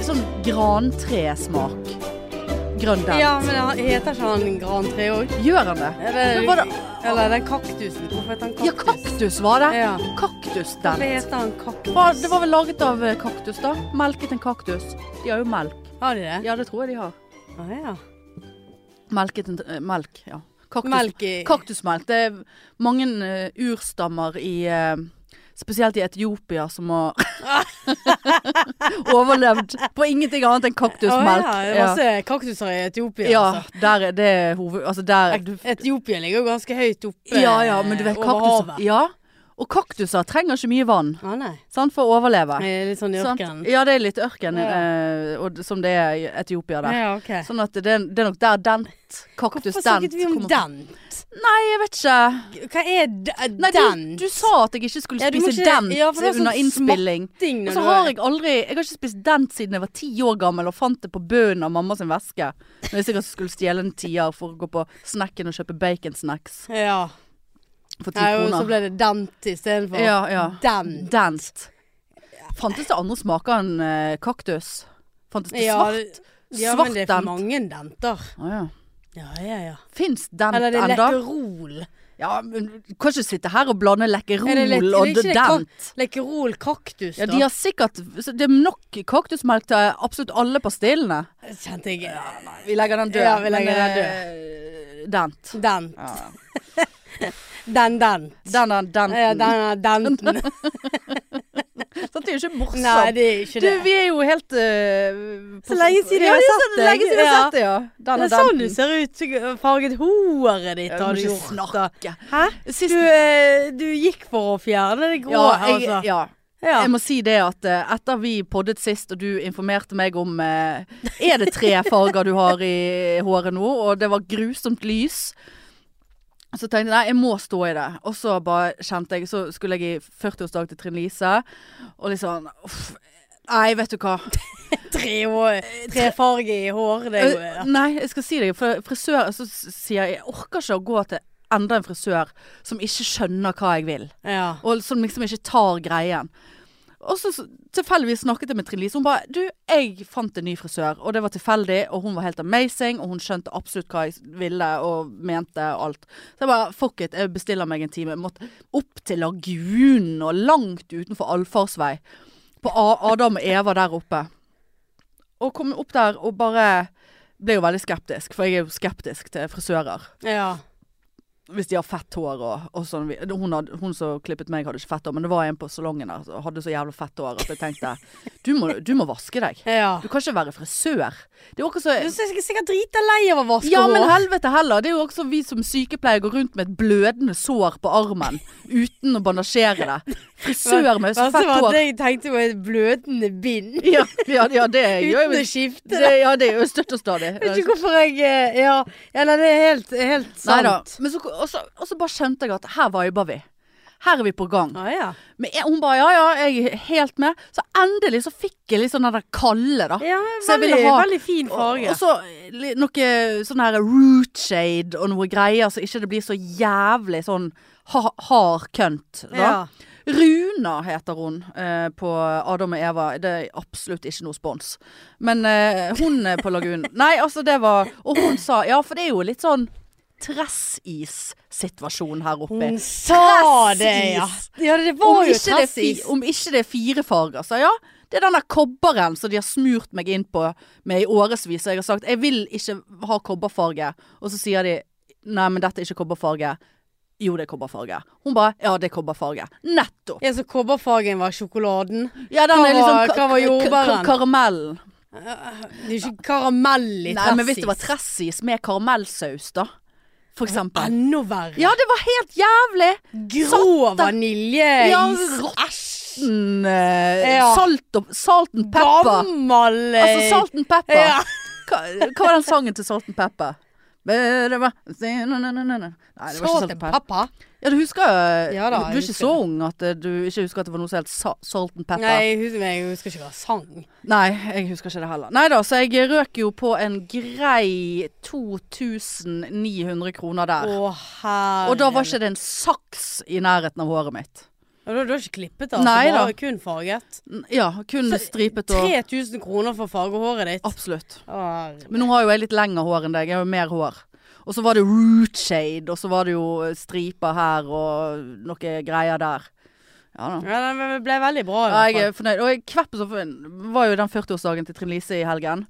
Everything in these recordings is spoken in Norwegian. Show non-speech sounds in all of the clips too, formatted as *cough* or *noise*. Sånn grantresmak. Grønn den. Ja, men han heter ikke han gran tre òg? Gjør han det? Men var Eller, det- eller den kaktusen. Hvorfor heter han kaktus? Ja, kaktus var det. Ja. Kaktusdent. Hvorfor heter han kaktus? Hva- Det var vel laget av eh, kaktus, da. Melket en kaktus. De har jo melk. Har de det? Ja, det tror jeg de har. Ah, ja. Melket en eh, Melk, ja. Kaktus, Melk i Kaktusmelk. Det er mange eh, urstammer i eh, Spesielt i Etiopia som har *laughs* overlevd på ingenting annet enn kaktusmelk. Ah, ja. det er Masse kaktuser i Etiopia. ja, altså. der er det hoved... Altså der du, Etiopia ligger jo ganske høyt oppe Ja ja, men du vet over kaktus havet. Ja. Og kaktuser trenger ikke mye vann Ah, nei. sant, for å overleve. Det er Litt sånn i Sant? ørkenen. Ja, det er litt ørken, Ja. eh, og, d- som det er i Etiopia der. Ja, ok. Sånn at det, det er nok der dent, kaktus Hvorfor dent snakket vi om kommer- dent? Nei, jeg vet ikke. Hva er d- Nei, dent? Du, du sa at jeg ikke skulle Ja, du må spise ikke- dent ja, for det var sånn under innspilling. Ding, Og når så du har jeg aldri Jeg har ikke spist dent siden jeg var ti år gammel og fant det på bunnen av mamma sin veske. Når jeg sikkert skulle stjele en tier for å gå på snacken og kjøpe baconsnacks Ja. for ti Nei, og så kroner. ble det dent istedenfor. Ja, ja. Dent. Dent. Fantes det andre smaker enn eh, kaktus? Fantes det Ja, svart? det- ja, svart men det er dent. for mange denter. Å ja. Ja, ja, ja. Fins dent Eller det er enda? lekkerol. Ja, men du kan ikke sitte her og blande lekkerol Er det lek- og det er ikke det dent. Lekkerol kaktus, Ja, da. de har sikkert så Det er nok kaktusmelk til absolutt alle pastillene. Kjente jeg Vi legger den død, Ja, vi men, legger den eh, død. Dent. Dent. Ja. *laughs* Den dent. Den er denten. Ja, den *laughs* er denten. Så det er jo ikke morsomt. Nei, det er ikke du, det. vi er jo helt eh, på- Så lenge siden ja, jeg har det er sett sånn deg. Lenge siden jeg har Ja. sett deg, ja. Den er Det er sånn du denten. ser ut. Farget håret ditt Jeg har må du ikke gjort. da. snakke. Hæ? Sist- Du, eh, du gikk for å fjerne det grå, Ja, jeg, altså. ja. Ja. Jeg må si det at eh, etter vi poddet sist og du informerte meg om eh, Er det *laughs* tre farger du har i håret nå? Og det var grusomt lys. Så tenkte jeg nei, jeg må stå i det. Og så bare kjente jeg Så skulle jeg i 40-årsdag til Trine Lise, og liksom uff, Nei, vet du hva. Tre, hår- tre farger i håret, *laughs* det er jo Eh, Nei, jeg skal si deg, for frisør Så s- sier jeg jeg orker ikke å gå til enda en frisør som ikke skjønner hva jeg vil. Ja. Og som liksom ikke tar greien. Og så så tilfeldigvis snakket jeg med Trine Lise. Hun bare 'Du, jeg fant en ny frisør', og det var tilfeldig, og hun var helt amazing, og hun skjønte absolutt hva jeg ville og mente og alt. Så jeg bare 'fuck it', jeg bestiller meg en time. Jeg måtte opp til Lagunen og langt utenfor allfarsvei. På A Adam og Eva der oppe. Og kom opp der og bare ble jo veldig skeptisk, for jeg er jo skeptisk til frisører ja. hvis de har fett hår og, og sånn. vi- Hun, hadde, hun som klippet meg hadde ikke fett hår, men det var en på salongen der som hadde så jævlig fett hår at jeg tenkte du må, du må vaske deg. ja. Du kan ikke være frisør. Det er jo akkurat Du så er sikkert drita lei av å vaske ja, men hår. helvete heller. Det er jo også vi som sykepleiere går rundt med et blødende sår på armen uten å bandasjere det. Frisør med så Verste fett var at hår. jeg tenkte på et blødende bind Altså, *laughs* Ja, ja, ja, det gjør uten jo å skifte. det, ja, det er jo støtt og stadig. Jeg vet ikke hvorfor jeg eh, Ja, ja nei, det er helt, helt sant. Neida. Men så, og, så, og så bare skjønte jeg at her viber vi. Her er vi på gang. Ah, ja. Men jeg- hun bare ja, ja, jeg er helt med. Så endelig så fikk jeg litt sånn den der kalde, da. ja Så jeg veldig, ville ha- veldig fin Og, farge. og så li- noe sånn her root shade og noe greier, så ikke det blir så jævlig sånn ha, hard kønt. Da. ja. Runa heter hun eh, på Adam og Eva. Det er absolutt ikke noe spons. Men eh, hun er på *laughs* Lagunen Nei, altså det var Og hun sa ja, for det er jo litt sånn tressissituasjon her oppe. Hun sa det, ja. Tressis. Ja, det Om var jo ikke, det er fi, tressis. om ikke det er fire farger, så ja. Det er den der kobberen som de har smurt meg inn på med i årevis. Og jeg har sagt 'jeg vil ikke ha kobberfarge', og så sier de 'nei, men dette er ikke kobberfarge'. Jo, det er kobberfarge. Hun bare 'ja, det er kobberfarge'. Nettopp. Ja, så kobberfargen var sjokoladen. Ja, den Hva er var- liksom hva var jordbæren? karamellen. Det er jo ikke karamell i tressis. Nei, men hvis det var tressis med karamellsaus, da. For eksempel. Enda verre. Ja, det var helt jævlig! Grå vaniljeis. Ja, rotten eh, Ja. Salt og Salt and pepper. Gammel eh, Altså Salt and Pepper. Ja. Hva, hva var den sangen til Salt and Pepper? Nei, det var ikke Salt Salt and and Pepper. sånn pepper? Ja, du husker eh, Ja da, Du er ikke jeg husker så ung at eh, du ikke husker at det var noe som het sa- Salt and Pepper. Nei, jeg husker, jeg husker ikke hva sang. Nei, jeg husker ikke det heller. Nei da, så jeg røk jo på en grei 2900 kroner der. Å, herre Og da var ikke det en saks i nærheten av håret mitt. Å Og da, du har ikke klippet altså, Nei da. bare kun farget. N- Ja, kun Så, stripet og 3000 kroner for å farge håret ditt. Absolutt. Å, Men nå har jo jeg litt lengre hår enn deg. Jeg har jo mer hår. Og så var det root shade, og så var det jo eh, striper her og noe greier der. Ja da. Ja, den ble veldig bra. i Ja, hvert jeg fall. er fornøyd. Og Kvepp så fornøyd. var jo i den 40-årsdagen til Trine Lise i helgen.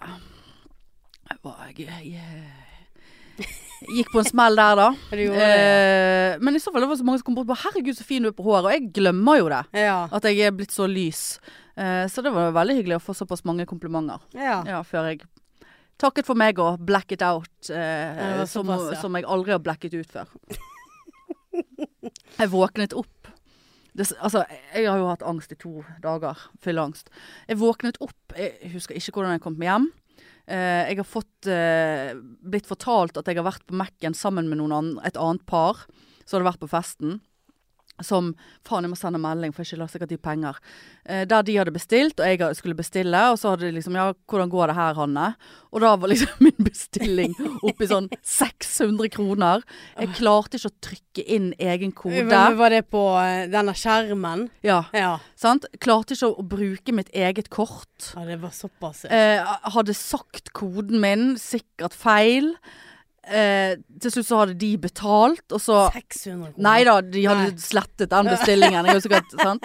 Jeg, var, jeg, jeg gikk på en smell der, da. Du gjorde det, Eh, men i så fall det var så mange som kom bort og bare 'herregud, så fin du er på håret'. Og jeg glemmer jo det. ja. Ja. At jeg er blitt så lys. Eh, så det var veldig hyggelig å få såpass mange komplimenter. Ja. Ja, før jeg takket for meg og blacket out, eh, det var som, såpass, ja. som jeg aldri har blacket ut før. jeg våknet opp. Det, s- altså, jeg har jo hatt angst i to dager. Fylleangst. Jeg våknet opp, jeg husker ikke hvordan jeg kom hjem. Eh, jeg har fått, eh, blitt fortalt at jeg har vært på Mac-en sammen med noen andre, et annet par som hadde vært på festen. Som Faen, jeg må sende melding, for jeg skylder sikkert de penger. Eh, der de hadde bestilt, og jeg hadde- skulle bestille. Og så hadde de liksom Ja, hvordan går det her, Hanne? Og da var liksom *laughs* min bestilling oppi sånn 600 kroner. Jeg klarte ikke å trykke inn egen Ah. Men kode. Var det på eh, denne skjermen? Ja, Ja. sant? Klarte ikke å bruke mitt eget kort. ja det var såpass. ja. Eh, hadde sagt koden min, sikkert feil. Eh, til slutt så hadde de betalt, og så 600 kroner. Nei da, de hadde Nei. slettet den bestillingen. Jeg husker at, sant?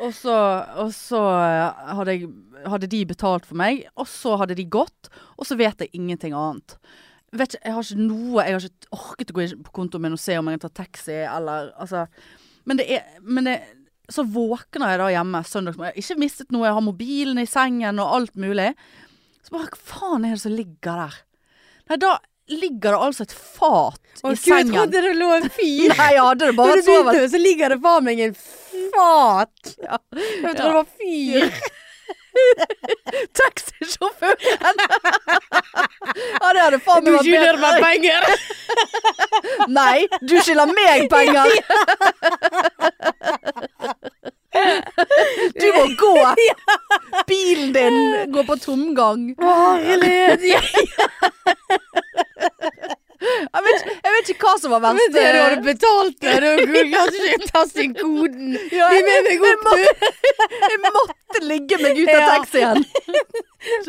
Og så, og så eh, hadde, jeg, hadde de betalt for meg, og så hadde de gått, og så vet jeg ingenting annet. Vet ikke, jeg har ikke noe Jeg har ikke orket å gå inn på kontoen min og se om jeg kan ta taxi eller altså, Men det er men det, Så våkner jeg da hjemme søndagsmorgen. Jeg har Ikke mistet noe, jeg har mobilen i sengen og alt mulig. Så bare hva faen er det som ligger der? Nei, da ligger det altså et fat Å, i Gud, jeg sengen. trodde det lå en *laughs* fyr. Nei, jeg hadde det bare Når vært du sovet. begynte, så ligger det faen meg en fat. Jeg Ja. trodde det var fyr. *laughs* Taxisjåføren! ja, det hadde faen meg vært bedre. meg penger. Nei, du skylder *laughs* meg penger! du må *laughs* gå! Bilen din går på tomgang. Herlighet. Ja, Jeg vet, ikke- jeg vet ikke hva som var men det du hadde verst. betalt det. Du kunne kanskje ikke taste inn koden. Ja, Bli med meg opp, du. Jeg måtte ligge meg ut av *laughs* Ja. taxien.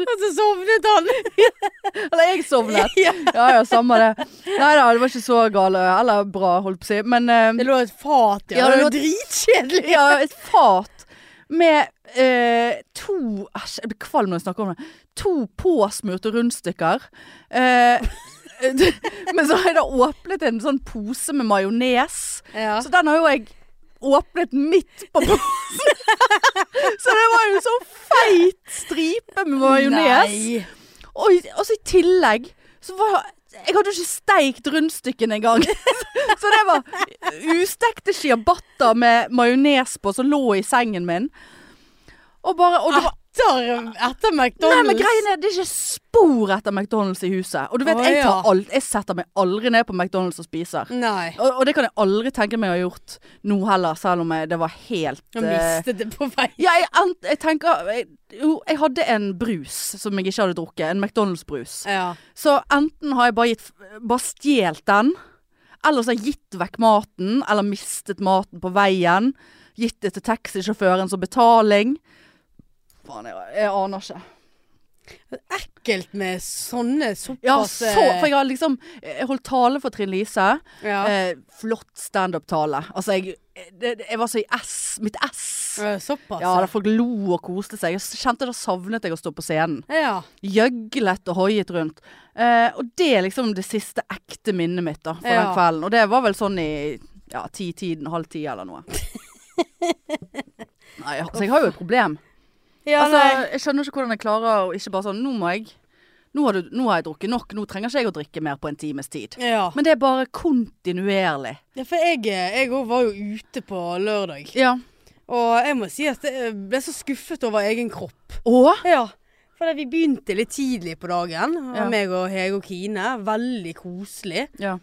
Og så sovnet han. Eller jeg sovnet. *laughs* Ja. Ja ja, samme det. Nei da, det var ikke så gale. Eller bra, holdt på å si. Men eh, Det lå et fat, ja. Ja, det det var lå- dritkjedelig. *laughs* Ja, et fat med eh, to Æsj, jeg blir kvalm når jeg snakker om det. To påsmurte rundstykker. Eh, *laughs* men så har jeg da åpnet en sånn pose med majones. Ja. Så den har jo jeg åpnet midt på *laughs* posen. så det var jo en sånn feit stripe med majones. Nei. Og i- altså, i tillegg så var jeg hadde jo ikke steikt rundstykkene engang. *laughs* Så det var ustekte ciabatta med majones på som lå i sengen min. Og bare og det var, Etter, etter Nei, Ah, McDonald's. men greien er, det er ikke spor etter McDonald's i huset. Og du vet, Å, jeg, ja. tar alt, jeg setter meg aldri ned på McDonald's og spiser. Nei. Og, og det kan jeg aldri tenke meg å ha gjort nå heller, selv om jeg, det var helt Jeg eh, mistet det på vei. ja, jeg, ant- jeg tenker jeg, Jo, jeg hadde en brus som jeg ikke hadde drukket. En McDonald's-brus. Ja. Så enten har jeg bare, gitt, bare stjelt den, eller så har jeg gitt vekk maten, eller mistet maten på veien. Gitt det til taxisjåføren som betaling. Faen, jeg, jeg aner ikke. Ekkelt med sånne såpass Ja, så, for jeg har liksom Jeg holdt tale for Trine Lise. eh, ja. Eh, flott standup-tale. Altså, jeg, det, det- jeg var så i S. Mitt S. Eh, Såpass. Ja, da folk lo og koste seg. Jeg kjente da savnet jeg å stå på scenen. ja. gjøglet og hoiet rundt. Eh, og det er liksom det siste ekte minnet mitt da, fra Ja. den kvelden. Og det var vel sånn i ja, ti-tiden, halv ti eller *laughs* noe. Nei, altså jeg har jo et problem. Ja, Altså, nei. jeg skjønner ikke hvordan jeg klarer å ikke bare sånn Nå må jeg Nå har, du, nå har jeg drukket nok, nå trenger ikke jeg å drikke mer på en times tid. Ja. Men det er bare kontinuerlig. ja, for jeg, eh, jeg også var jo ute på lørdag. Ja. Og jeg må si at jeg ble så skuffet over egen kropp. Og Ja. For vi begynte litt tidlig på dagen, og Ja. meg og Hege og Kine. Veldig koselig. Ja.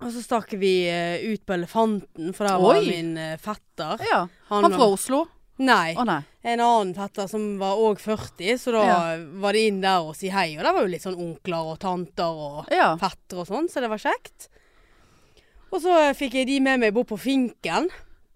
Og så stakk vi eh, ut på Elefanten, for der var Oi. min eh, fetter. ja. Han, var- fra Oslo? Nei. Å nei. En annen fetter som var òg 40, så da var det inn der og si hei. Og der var jo litt sånn onkler og tanter og Ja. eh, fettere og sånn, så det var kjekt. Og så fikk jeg de med meg bort på finken.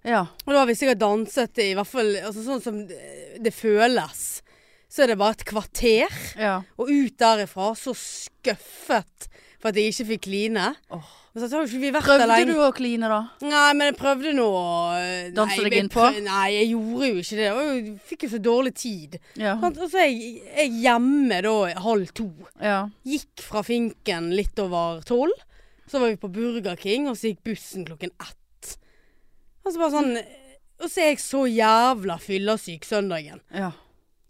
Ja. Og da har vi sikkert danset i hvert fall altså sånn som det det føles. Så er det bare et kvarter. ja. Og ut derifra så skuffet for at jeg ikke fikk kline. Åh. Men så har jo ikke vi vært der Prøvde lenge. du å kline, da? Nei, men jeg prøvde nå å- Danse Nei, deg jeg inn på? prøv- Nei, jeg gjorde jo ikke det. Og jeg fikk jo så dårlig tid. Ja. Sant? Og så er jeg, jeg hjemme da halv to. ja. Gikk fra finken litt over tolv. Så var vi på Burger King, og så gikk bussen klokken ett. Og så bare sånn Og så er jeg så jævla fyllesyk søndagen. ja.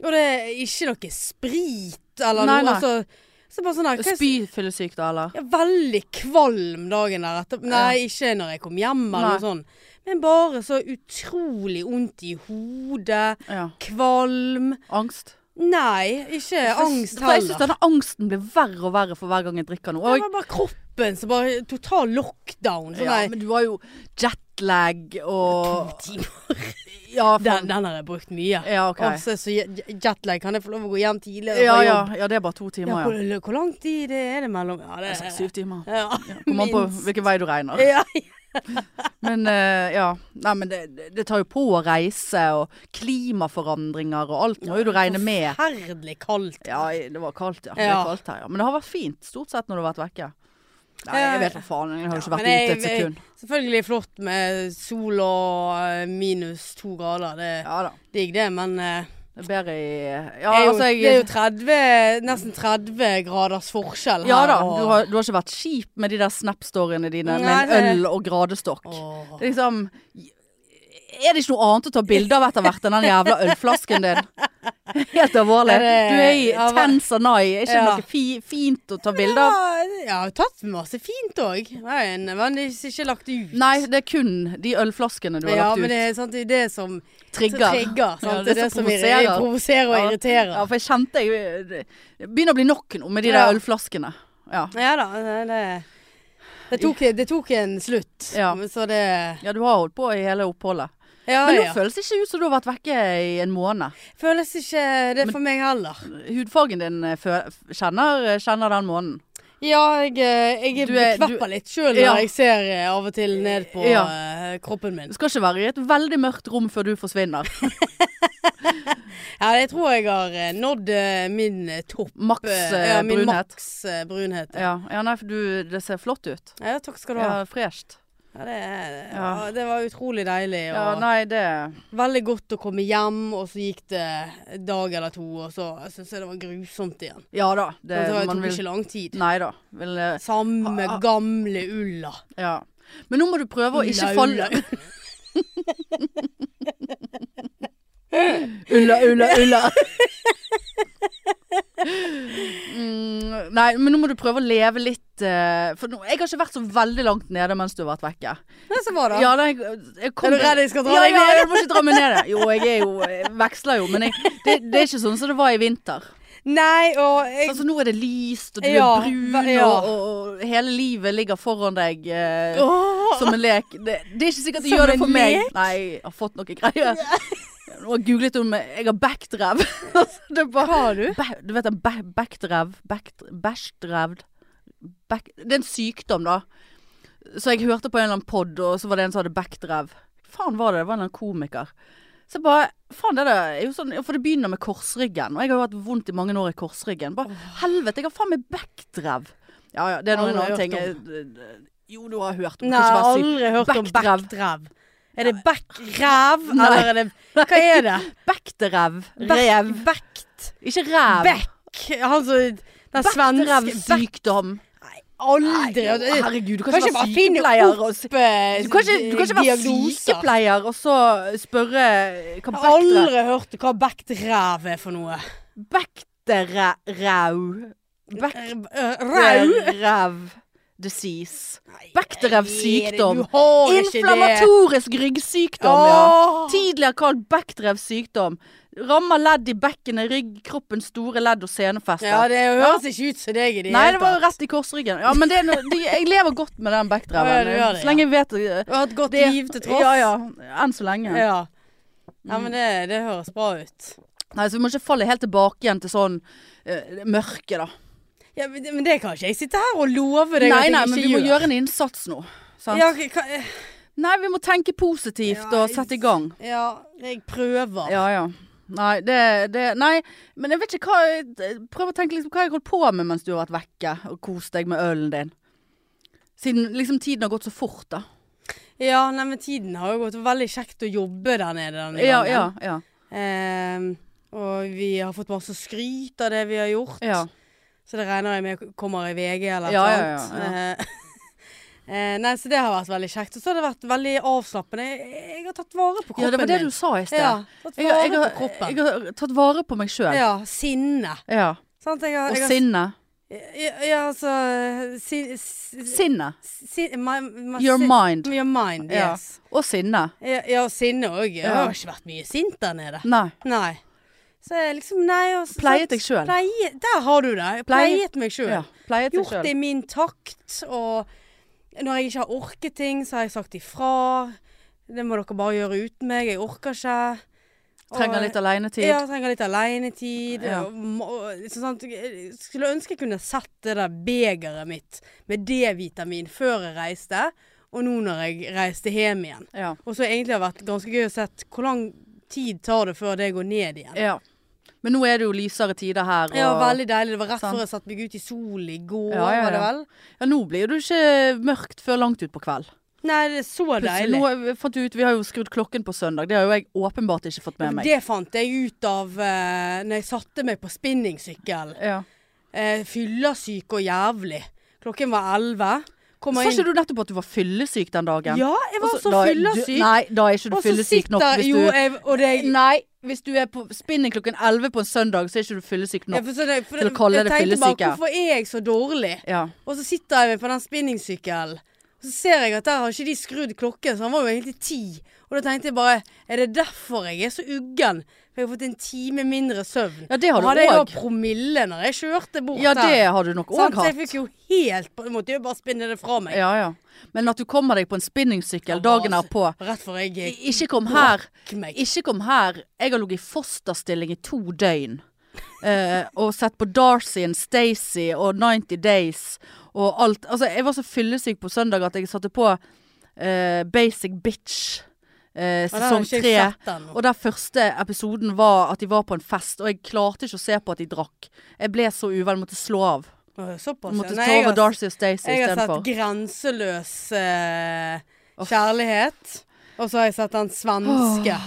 Og det er ikke noe sprit eller Nei, noe. nei. Altså, så bare sånn her, hva er- Spyfyllesyk, da, eller? ja, veldig kvalm dagen der etter. Nei, ikke når jeg kom hjem eller Nei. noe sånt. Men bare så utrolig vondt i hodet. Ja. Kvalm. Angst? Nei, ikke angst For jeg syns heller. denne angsten blir verre og verre for hver gang jeg drikker noe. Det Og var bare kroppen som bare Total lockdown. Sånn ja, der, men du har jo jetlag og to timer. Ja, Den, faen. den har jeg brukt mye. Ja, OK. Og så er jeg så jet- jetlag. Kan jeg få lov å gå hjem tidligere? Ja, fra ja, jobb? ja, det er bare to ja. timer, ja. Hvor, hvor lang tid er det mellom Ja, det Det er er sånn Syv timer. Ja, Kommer an på minst. hvilken vei du regner. Ja, Men eh, ja. Nei, men det, det tar jo på å reise, og klimaforandringer og alt må jo du regne med. Forferdelig kaldt. Ja, det var kaldt, ja. Det Ja. er kaldt her, ja. Men det har vært fint, stort sett, når du har vært vekke. Nei, jeg vet da faen. Jeg har jo Ja, ikke vært men ute jeg- et sekund. Selvfølgelig flott med sol og eh, minus to grader. Det er Ja da. digg, det, men eh, Det er bedre i Ja, det er jo, altså, det er jo jeg 30, nesten 30 graders forskjell her. Ja da. og- Du har, du har ikke vært kjip med de der snap-storyene dine med Nei, en det- øl og gradestokk. Åh. Det er liksom Er det ikke noe annet å ta bilde av etter hvert enn den jævla ølflasken din? *laughs* Helt alvorlig. Ja, det- Du er i ja, hva- Tanzania. Er ikke Ja. noe fi, fint å ta bilde av? Ja, jeg har tatt masse fint òg. Jeg har en- men det er ikke lagt ut. Nei, det er kun de ølflaskene du har ja, lagt men ut. det er sant, det, er det som som Trigger. trigger sant? Ja, det, er det som provoserer, provoserer og Ja. irriterer. Ja, for jeg kjente jeg Det begynner å bli nok nå med de Ja. der ølflaskene. Ja. Ja da. Det, det, det, tok, det tok en slutt. Ja. Så det ja, du har holdt på i hele oppholdet. Ja, Men nå ja. føles det ikke ut som du har vært vekke i en måned. Føles ikke det for meg heller. Hudfargen din eh, fø- kjenner, eh, kjenner den måneden. Ja, jeg, eh, jeg Du er- bekvepper litt sjøl når Ja. jeg ser eh, av og til ned på Ja. eh, kroppen min. Du skal ikke være i et veldig mørkt rom før du forsvinner. Ja, jeg tror jeg har eh, nådd eh, min eh, topp. Maks eh, eh, *laughs* ja, min brunhet. maks eh, brunhet. Ja. Ja. ja, nei, for du, det ser flott ut. ja, takk skal du ha. Ja, Fresht. Ja, det, er- ja, Ja. det var utrolig deilig. Og Ja, nei, det Veldig godt å komme hjem, og så gikk det en dag eller to, og så syns jeg det var grusomt igjen. Ja da. Det, Det, det man tok vil ikke lang tid. Nei da. Vil, eh, Samme Ah. gamle ulla. ja. Men nå må du prøve å ikke Ulla, falle ulla. *laughs* *laughs* Ulla, ulla, ulla. *laughs* mm, nei, men nå må du prøve å leve litt eh, For nå, jeg har ikke vært så veldig langt nede mens du har vært vekke. Nei, så var det. Ja, nei, jeg, jeg kom, Er du redd jeg skal dra ja, deg ja, ned? Ja, du må ikke dra meg ned. Jo, jeg er jo jeg veksler jo, men jeg, det, det er ikke sånn som det var i vinter. Nei, og jeg Altså, nå er det lyst, og du Ja, er brun, hva- ja. og, og, og hele livet ligger foran deg. eh, Åh. Som en lek. Det, det er ikke sikkert det Som gjør det en for meg. lek? Nei, jeg har fått noe greier. Nå har jeg googlet om jeg har backdrev. Altså, det er bare- Hva har du? Ba- Du vet den ba backdrev back- Bæsjdrevd back Det er en sykdom, da. Så jeg hørte på en eller annen pod, og så var det en som hadde backdrev. Faen var det, det var en eller annen komiker. Så jeg bare Faen, det der er jo sånn For det begynner med korsryggen, og jeg har jo hatt vondt i mange år i korsryggen. Bare helvete, jeg har faen meg backdrev. Ja ja, det er noe en Aldri annen hørt ting. Jeg- Jo, du har hørt om Nei, jeg har aldri hørt om Backdrev. backdrev. Er det backrev, Nei. eller er det Hva er *laughs* det? Backdrev. Back- Rev. Backt. Ikke ræv. Back. Han som Den svenske back. Backdrevsykdom. Aldri. Nei, å, herregud, du kan Kanskje ikke være bare finne sykepleier og opp eh, Du kan ikke, du kan ikke være diagnoser. sykepleier og så spørre eh, hva Jeg har backdrev aldri hørt hva backdrev er for noe. Backdrev Eh, Rau. Backdrev disease. Backdrev-sykdom. Du har ikke det. Inflammatorisk ryggsykdom, ja. Åh. Tidligere kalt backdrev-sykdom. Rammer ledd i bekkenet, rygg, kroppens store ledd og senefester. Ja, det høres ikke ut som deg i det Nei, hele det var jo tatt. rett i korsryggen. Ja, men det er noe, de, jeg lever godt med den Ja, backdreven. du gjør det, så lenge jeg vet det. Du har et godt det- liv til tross. Ja, ja. Enn så lenge. Ja. Ja, Mm. men det, det høres bra ut. Nei, så vi må ikke falle helt tilbake igjen til sånn eh, mørke, da. Ja, men det- men det kan ikke jeg sitte her og love deg Nei, nei, at jeg men ikke vi må sånn. gjør. gjøre en innsats nå. Sant? Ja, hva- eh, Nei, vi må tenke positivt Ja, og sette i gang. Ja, jeg prøver. Ja, ja. Nei, det, det Nei, men jeg vet ikke hva jeg- Prøv å tenke liksom hva jeg holdt på med mens du har vært vekke og kost deg med ølen din. Siden liksom tiden har gått så fort, da. Ja, nei, men tiden har jo gått veldig kjekt å jobbe der nede denne Ja, gangen. ja, ja. Ehm, og vi har fått masse skryt av det vi har gjort. ja. Så det regner jeg med kommer i VG eller Ja, noe ja, ja, sånt. Eh, *laughs* eh, nei, så det har vært veldig kjekt. Og så har det vært veldig avslappende. Jeg, jeg har tatt vare på kroppen ja det var det du min. sa i sted. Ja, tatt Jeg, vare har- jeg, på har, kroppen. jeg har tatt vare på meg sjøl. ja, sinne. Ja. Sant? Sånn Jeg har, Og jeg har, sinne. Ja, ja, altså sin, sin, Sinne. sin, my, my, Your sin- mind. Your mind, Ja. yes. Og sinne. Ja, ja og sinne òg. Jeg Ja. har ikke vært mye sint der nede. Nei. Nei. Så jeg liksom, nei og så- Pleiet deg selv. Pleie- Der har du det. Jeg Pleiet- Pleiet meg sjøl. Ja. Pleiet deg Gjort det sjøl. i min takt. Og når jeg ikke har orket ting, så har jeg sagt ifra. Det må dere bare gjøre uten meg. Jeg orker ikke. Og- Trenger litt alenetid. Ja, trenger litt alenetid. Ja. og må- og Liksom sant, jeg skulle ønske jeg kunne sett det der begeret mitt med D-vitamin før jeg reiste, og nå når jeg reiste hjem igjen. Ja. Og så egentlig har det vært ganske gøy å sett hvor lang tid tar det før det går ned igjen. ja. Men nå er det jo lysere tider her. Og, Ja, veldig deilig. Det var rett Sant. før jeg satte meg ut i solen i går, Ja, ja, var det ja. vel? ja, nå blir det jo ikke mørkt før langt utpå kveld. Nei, det er så Plutselig, deilig. Nå fant vi ut, vi har jo skrudd klokken på søndag. Det har jo jeg åpenbart ikke fått med meg. Det fant jeg ut av eh, når jeg satte meg på spinningsykkel. Ja. Eh, Fyllesyk og jævlig. Klokken var elleve. Sa Kommer inn ikke du nettopp at du var fyllesyk den dagen? Ja, jeg var Og så da er du- fyllesyk. Nei, da er ikke du Og så fyllesyk nok sitter- hvis jo, du jeg, og det, Nei, hvis du er på spinning klokken 11 på en søndag, så er ikke du fyllesyk jeg, nok. for, så det, for, Til å kalle jeg det tenkte fyllesyke. Bare, hvorfor er jeg så dårlig? Ja. Og så sitter jeg på den spinningsykkelen. Og Så ser jeg at der har ikke de skrudd klokken, så han var jo egentlig ti. Og da tenkte jeg bare, er det derfor jeg er så uggen? For jeg har fått en time mindre søvn. Ja, det har du Hadde jeg òg. da promille når jeg kjørte bort ja, der? det har du nok Sant? òg Så jeg hatt. fikk jo helt på- Jeg måtte jo bare spinne det fra meg. Ja, ja. Men at du kommer deg på en spinningsykkel Det var dagen altså- herpå Rett før jeg gikk Ikke kom her. meg. Ikke kom her. Jeg har ligget i fosterstilling i to døgn. *laughs* Eh, og sett på Darcy and Stacey og 90 Days og alt. Altså, jeg var så fyllesyk på søndag at jeg satte på eh, Basic Bitch eh, Ja, den har sesong ikke jeg tre. sett den. Og der første episoden var at de var på en fest, og jeg klarte ikke å se på at de drakk. Jeg ble så uvel, måtte slå av. Åh, Såpass, ja. Måtte Altså, Nei, ta jeg over har- Darcy og Stacey Jeg har istedenfor. sett grenseløs eh, kjærlighet. Og så har jeg sett den svenske.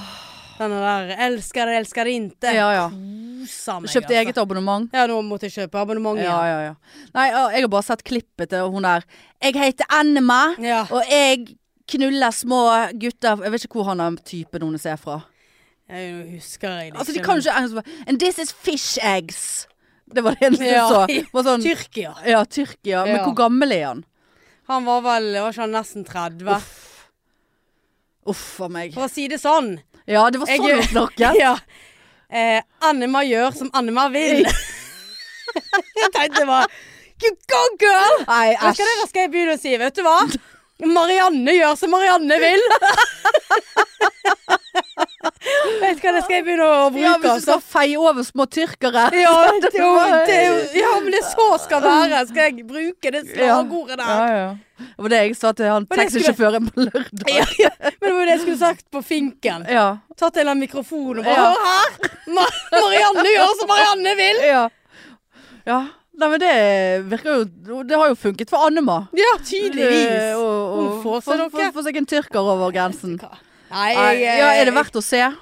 Denne der 'elsker det, elsker det inte'. Ja, ja. Kosa meg, altså. Kjøpte eget abonnement. Ja, nå måtte jeg kjøpe abonnement Ja, igjen. ja, ja. Nei, ja, jeg har bare sett klippet til hun der Jeg heter Annema, Ja. og jeg knuller små gutter Jeg vet ikke hvor han er typen hun ser fra. Jeg nå husker jeg det Altså, de kan jo ikke engelsk. And this is fish eggs. Det var det eneste Ja. du så. Var sånn, Tyrkia. ja, Tyrkia. Men Ja. hvor gammel er han? Han var vel var ikke han nesten 30? Uff a meg. For å si det sånn. Ja, det var sånn Jeg- hun snakket. *laughs* Ja. Eh, Annema gjør som *laughs* Annema vil. *laughs* jeg tenkte bare You go, girl! Nei, Vet æsj. du hva det da skal jeg begynne å si? Vet du hva? Marianne gjør som Marianne vil. Vet du hva det skal jeg begynne å Ja, bruke? hvis du altså? skal feie over små tyrkere. Ja, det, er jo- det, er jo- ja, men det er så skal være. Skal jeg bruke det slagordet der? Ja, ja. Det var det jeg sa til han det skulle- taxisjåføren på lørdag. Ja, ja. Men det var jo det jeg skulle sagt på finken. Ja. Tatt en eller annen mikrofon og bare Ja. Hør her! Ma- Marianne gjør som Marianne *laughs* vil! Ja. ja. Nei, men det virker jo Det har jo funket for Annema. Ja, tydeligvis. Eh, og- og- Hun får seg for- noe. for- for seg en tyrker over grensen. Nei, eh. Nei, jeg- Ja, er det verdt å se? Var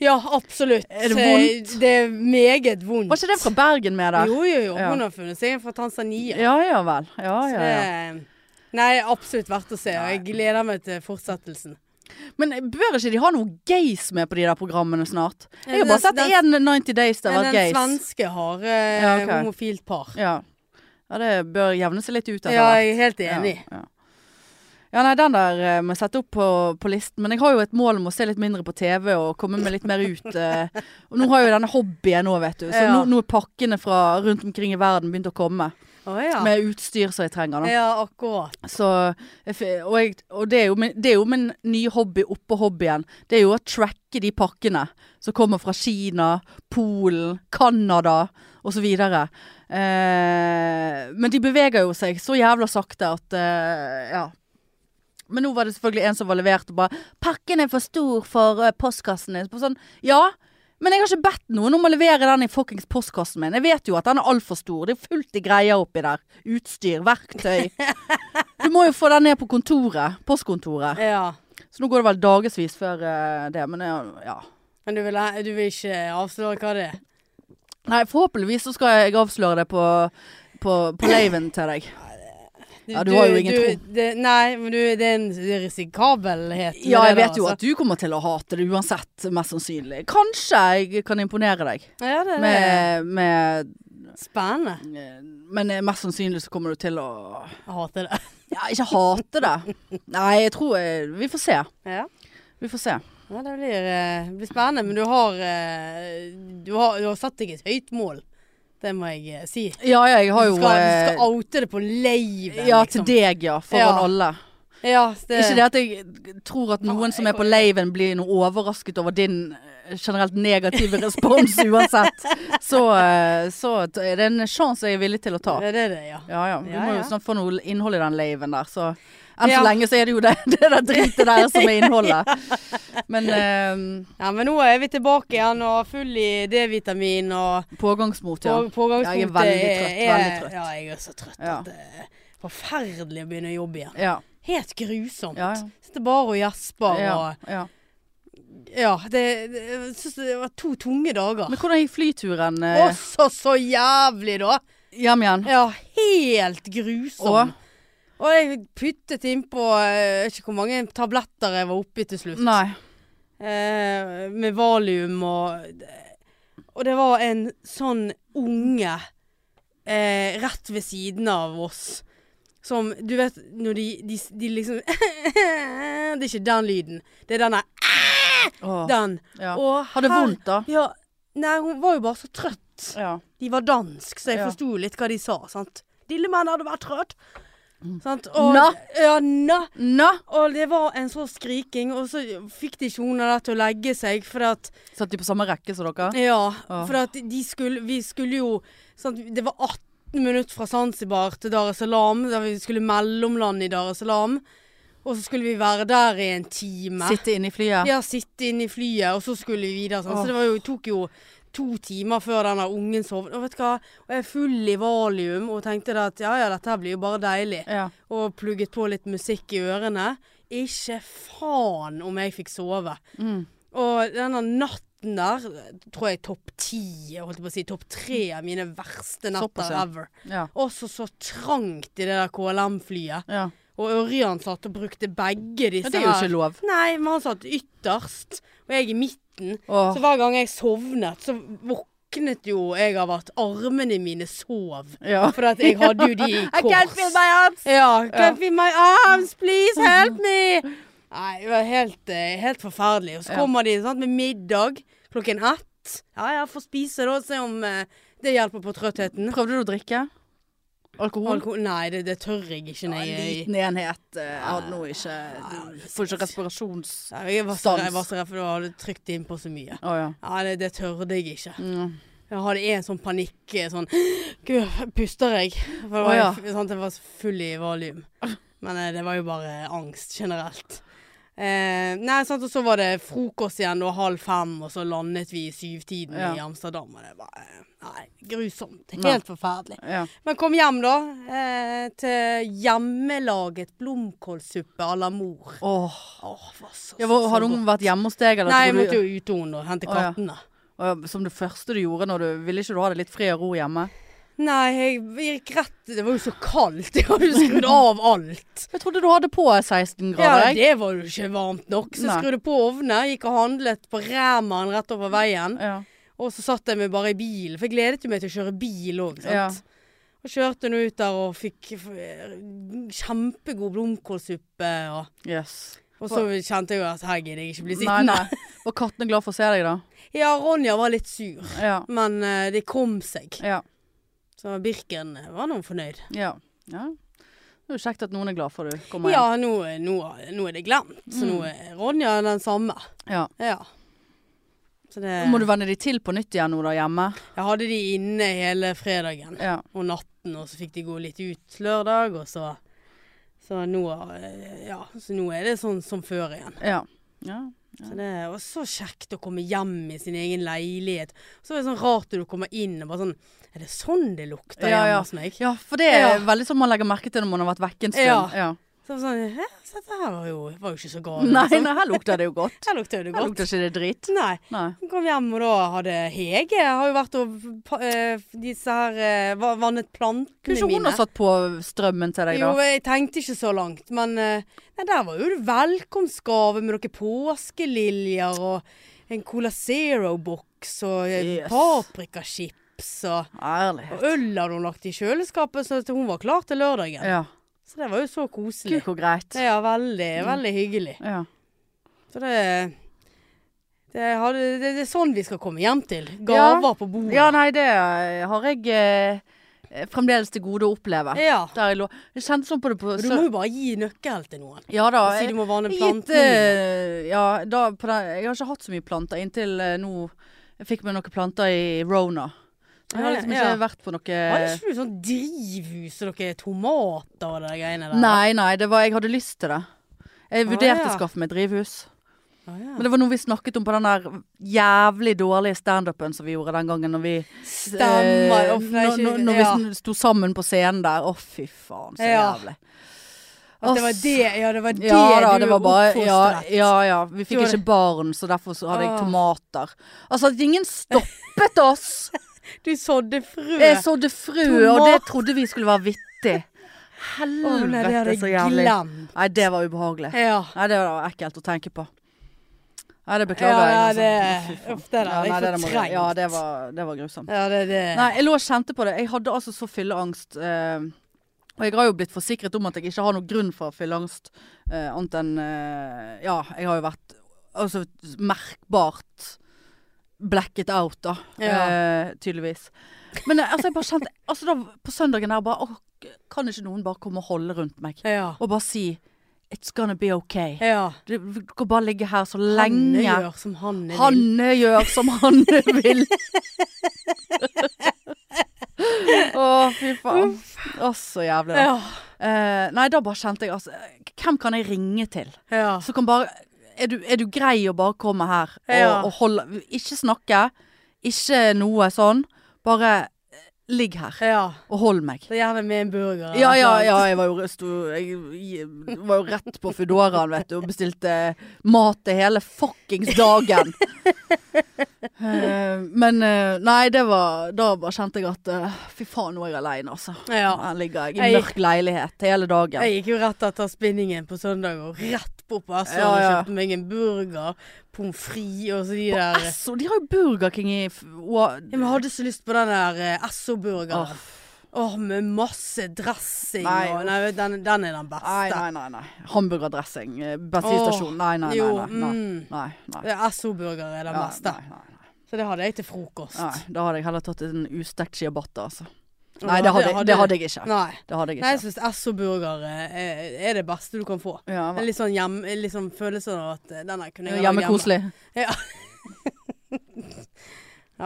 Ja, absolutt. Eh, Er det vondt? Det er meget vondt. ikke det fra Bergen med der? Jo, jo, jo. Ja. Hun har funnet seg en fra Tanzania. Ja ja vel. Ja, ja, ja. Det- Nei, absolutt verdt å se. Og jeg gleder meg til fortsettelsen. Men bør ikke de ha noe gays med på de der programmene snart? Jeg har Den- bare sett den- én 90 Days der har Men vært den gays. svenske har Ja, eh, ok. homofilt par. Ja. ja, det bør jevne seg litt ut etter Ja, hvert. jeg er helt enig. Ja, ja. Ja, nei, den der eh, må jeg sette opp på, på listen. Men jeg har jo et mål om å se litt mindre på TV og komme meg litt mer ut. eh. Og nå har jeg jo denne hobbyen nå, vet du. Så Ja. nå, nå er pakkene fra rundt omkring i verden begynt å komme. Å ja. Med utstyr som jeg trenger. Da. Ja, akkurat. Så, jeg f- og jeg, og det, er jo min, det er jo min nye hobby oppå hobbyen. Det er jo å tracke de pakkene som kommer fra Kina, Polen, Canada osv. Eh, men de beveger jo seg så jævla sakte at eh, ja. Men nå var det selvfølgelig en som var levert og bare 'Pakken er for stor for eh, postkassen din.' På sånn, ja, men jeg har ikke bedt noen om å levere den i fuckings postkassen min. Jeg vet jo at den er altfor stor. Det er fullt i greier oppi der. Utstyr, verktøy. Du må jo få den ned på kontoret. Postkontoret. Ja. Så nå går det vel dagevis før eh, det, men jeg- ja. Men du vil, du vil ikke avsløre hva det er? Nei, forhåpentligvis så skal jeg avsløre det på, på, på laven til deg. Ja, du har jo ingen tro. Det, nei, men du, det er en risikabelhet. Ja, jeg vet jo altså. at du kommer til å hate det uansett, mest sannsynlig. Kanskje jeg kan imponere deg Ja, Eh. det er med, med spennende. Men mest sannsynlig så kommer du til å Jeg hater det. Ja, ikke hate det. Nei, jeg tror eh, Vi får se. Ja. Vi får se. Ja, det blir, eh, blir spennende, men du har, eh, du har Du har satt deg et høyt mål. Det må jeg eh, si. Ja, ja, jeg har Du jo skal, du eh, skal oute det på laven. Ja, til liksom. deg, ja. Foran Ja. alle. Ja, det, Ikke det at jeg tror at noen som er på laven blir noe overrasket over din eh, generelt negative *laughs* respons uansett. Så, eh, så t- er det en sjanse jeg er villig til å ta. Ja, det er det, ja. Ja ja, vi Ja, må jo ja. snart få noe innhold i den laven der, så enn Ja. så lenge så er det jo det, *laughs* det der dritet der som *laughs* er innholdet. Men eh, ja. Men nå er vi tilbake igjen og full i D-vitamin og pågangsmot, ja. På- Jeg Pågangspunktet er veldig trøtt, er- er- veldig trøtt. Ja, jeg er så trøtt Ja. at det er forferdelig å begynne å jobbe igjen. Ja, Helt grusomt. Ja, ja. Sitter bare og gjesper ja, og ja. Ja, det, det, jeg syns det var to tunge dager. Men hvordan gikk flyturen eh, Og så så jævlig, da! hjem igjen? Ja, helt grusom. Og? Og jeg puttet innpå eh, Jeg vet ikke hvor mange tabletter jeg var oppi til slutt. Nei. Eh, med valium og Og det var en sånn unge eh, rett ved siden av oss som Du vet når de, de, de liksom *laughs* Det er ikke den lyden. Det er denne Åh, den. ja. Og Hadde her- vondt, da? Ja. Nei, hun var jo bare så trøtt. Ja. De var dansk, så jeg Ja. forsto litt hva de sa. sant? Lille mann hadde vært trøtt. Sant? Og, Nå. Ja, nå. Nå Og det var en sånn skriking, og så fikk de ikke hun der til å legge seg, for at satt de på samme rekke som dere? Ja, Åh. for at de skulle Vi skulle jo sant, Det var 18 minutter fra Zanzibar til Dar es Salaam, der vi skulle mellomlande i Dar es Salaam. Og så skulle vi være der i en time. Sitte inne i flyet? Ja, sitte inne i flyet, og så skulle vi videre. Sånn. Åh. Så det var jo, tok jo to timer før denne ungen sovnet. Og vet du hva, og jeg er full i valium og tenkte da at ja ja, dette her blir jo bare deilig. Ja. Og plugget på litt musikk i ørene. Ikke faen om jeg fikk sove. Mm. Og denne natten der tror jeg topp ti, jeg holdt på å si topp tre av mine verste Såpass, netter ja. ever. Ja. Også så trangt i det der KLM-flyet. ja. Og Ørjan satt og brukte begge disse Men det er jo ikke lov. Nei, men han satt ytterst, og jeg i midten. Åh, Så hver gang jeg sovnet, så våknet jo jeg av at armene mine sov. ja. For *laughs* at jeg hadde jo de i I can't feel kors. my arms! Ja, Ja. can feel my arms, *laughs* please help me! Nei, det var helt, eh, helt forferdelig. Og Ja. så kommer de sant, med middag klokken ett. Ja, ja, får spise da, se om eh, det hjelper på trøttheten. Prøvde du å drikke? Alkohol? Alko nei, det, det tør jeg ikke. Ja, Nei, en jeg, liten enhet eh, hadde nå ikke du Får ikke respirasjons... Nei, jeg var så Stans. jeg var så redd, for det var trykt innpå så mye. Å ja. Ja, det, det tørde jeg ikke. Mm. Jeg hadde en sånn panikk eh, sånn Gud, puster jeg? For det var, Å, ja. jo f- sant, jeg var så full i valium. Men eh, det var jo bare angst generelt. Eh, nei, sant, og så var det frokost igjen og halv fem, og så landet vi i syvtiden Ja. i Amsterdam. Og det var eh, nei, grusomt. Helt Nei. forferdelig. ja. Men kom hjem, da. Eh, til hjemmelaget blomkålsuppe à la mor. Åh. Åh, var så, Ja, hvor, hadde hun vært hjemme hos deg? Eller, Nei, jeg tror måtte du, jo ut hun og hente Å, ja. kattene. Å, Som det første du gjorde når du Ville ikke du ha det litt fred og ro hjemme? Nei, jeg gikk rett Det var jo så kaldt. Jeg hadde jo skrudd av *laughs* alt. Jeg trodde du hadde på 16 Ja, grader. jeg. det var jo ikke varmt nok. Så jeg Nei. skrudde på ovnene, gikk og handlet på Ræman rett over veien. Ja. Og så satt jeg meg bare i bilen, for jeg gledet jo meg til å kjøre bil òg. Ja. Og kjørte nå ut der og fikk eh, kjempegod blomkålsuppe. Og, Yes. og så kjente jeg jo at her gidder jeg ikke bli Nei, sittende. nei. Var kattene glad for å se deg, da? *laughs* Ja, Ronja var litt sur, Ja. men eh, det kom seg. Ja. Så Birken eh, var nå fornøyd. Ja. ja. Det er jo kjekt at noen er glad for du kommer Ja, nå, nå, nå er det glemt. Så Mm. nå er Ronja den samme. hjem. Ja. Ja. Så det, Må du venne deg til på nytt igjen nå, da, hjemme? Jeg hadde de inne hele fredagen Ja. og natten, og så fikk de gå litt ut lørdag, og så Så nå, eh, ja, så nå er det sånn som før igjen. Ja. ja. Så det var så kjekt å komme hjem i sin egen leilighet. Så er det sånn rart når du kommer inn og bare sånn Er det sånn det lukter Ja, hjemme ja. hos meg? Ja, for det er Ja. veldig sånn man legger merke til når man har vært vekke en stund. Ja. Ja. Så jeg var sånn Hæ, så dette her var jo, var jo ikke så galt. Nei, liksom. nei, her lukter det jo godt. Her lukter det Her godt. lukter ikke det drit. Nei. Nei. Jeg kom hjem, og da hadde Hege har jo vært og pa- eh, disse her eh, va- vannet plantene Kunne ikke hun mine. ha satt på strømmen til deg, Jo, da? jeg tenkte ikke så langt, men eh, nei, der var jo det velkomstgave med noen påskeliljer og en Cola Zero-boks og Yes. yes. paprikachips og, Ærlig. og øl hadde hun lagt i kjøleskapet, så at hun var klar til lørdagen. Ja. Så det var jo så Gud, Mm. koselig. hvor greit. Ja, veldig, veldig hyggelig. Ja. Så det det, hadde, det, det er sånn vi skal komme hjem til. Ja. Gaver på bordet. ja, nei, det har jeg eh, fremdeles til gode å oppleve. Ja. Der jeg lå. Jeg kjente sånn på det på Du må jo bare gi nøkkel til noen. Ja da. Og si jeg- du må vanne Jeg gitt, planten. eh, ja, da, på den, jeg har ikke hatt så mye planter inntil eh, nå. Jeg fikk meg noen planter i Rona. Så Jeg har liksom ikke Ja. vært på Har noe ikke du sånn drivhus og noen tomater og de greiene der? Nei, nei, det var, jeg hadde lyst til det. Jeg Å, vurderte ja. å skaffe meg drivhus. Ah, Men ja. det var noe vi snakket om på den der jævlig dårlige standupen som vi gjorde den gangen når vi Stemmer. eh, Uff, nei, når, ikke- når, når vi ja. sn- sto sammen på scenen der. Å, fy faen, så Ja. jævlig. At det var det, ja, det var det Ja da, du det var bare ja, oppfostret. ja ja, vi Du fikk hadde- ikke barn, så derfor så hadde jeg Ah. tomater. Altså, at ingen stoppet oss! *laughs* Du sådde frø. Jeg sådde frø, og det trodde vi skulle være vittig. Å, nei, det hadde Helvete, så jeg jævlig. glemt. Nei, det var ubehagelig. Ja. Nei, det var ekkelt å tenke på. Nei, det Ja, beklager jeg. altså. det- Fy faen. uff, det der, Ja, det er nei, det må- fortrengt. Ja, det var, det var grusomt. Ja, det er det. Nei, jeg lå og kjente på det. Jeg hadde altså så fylleangst. Eh, og jeg har jo blitt forsikret om at jeg ikke har noen grunn for fylleangst. Eh, annet enn eh, Ja, jeg har jo vært altså merkbart blacket out, da. Ja. Eh, tydeligvis. Men eh, altså, jeg bare kjente altså, da, På søndagen der bare åh, Kan ikke noen bare komme og holde rundt meg? Ja. Og bare si It's gonna be okay. ja. Du, du kan bare ligge her så Hanne lenge. gjør som Hanne vil. Hanne gjør som Hanne vil. Å, fy faen. Å, så jævlig. da. Ja. Eh, nei, da bare kjente jeg altså Hvem kan jeg ringe til? ja. Så kan bare Er du, er du grei å bare komme her og, Ja. og holde Ikke snakke. Ikke noe sånn. Bare eh, ligg her ja. og hold meg. Så gjerne med en burger. Ja, ja, eller ja. noe. Jeg var jo, sto, jeg, var jo rett på Foodoraen, vet du, og bestilte mat til hele fuckings dagen. Eh, men eh, nei, det var Da bare kjente jeg at eh, fy faen, nå er jeg aleine, altså. ja. Her ligger jeg i Jeg- mørk leilighet hele dagen. Jeg gikk jo rett etter spinningen på søndag og rett bort på Esso Ja, ja. og kjøpte meg en burger, pommes frites og så de På der Esso, de har jo Burger King i f- og, Ja, men Jeg hadde så lyst på den der eh, Esso-burgeren. Åh, Åh, med masse dressing Nei, og Nei, vet du, den, den er den beste. Nei, nei, nei. nei. Hamburgerdressing, eh, bensinstasjon. Nei, nei, Jo, nei. nei, nei. mm. nei, nei. Esso-burger er den Ja, beste. nei, nei, nei. Så det hadde jeg til frokost. Nei, Da hadde jeg heller tatt en ustekt ciabatta, altså. Og Nei, det hadde, det hadde jeg ikke. Nei. Det hadde jeg Nei, jeg ikke. syns Esso-burger eh, er, er det beste du kan få. Ja, Det er Litt sånn, hjem, litt sånn følelsen av at eh, den her kunne jeg lage Hjemmekoselig. Det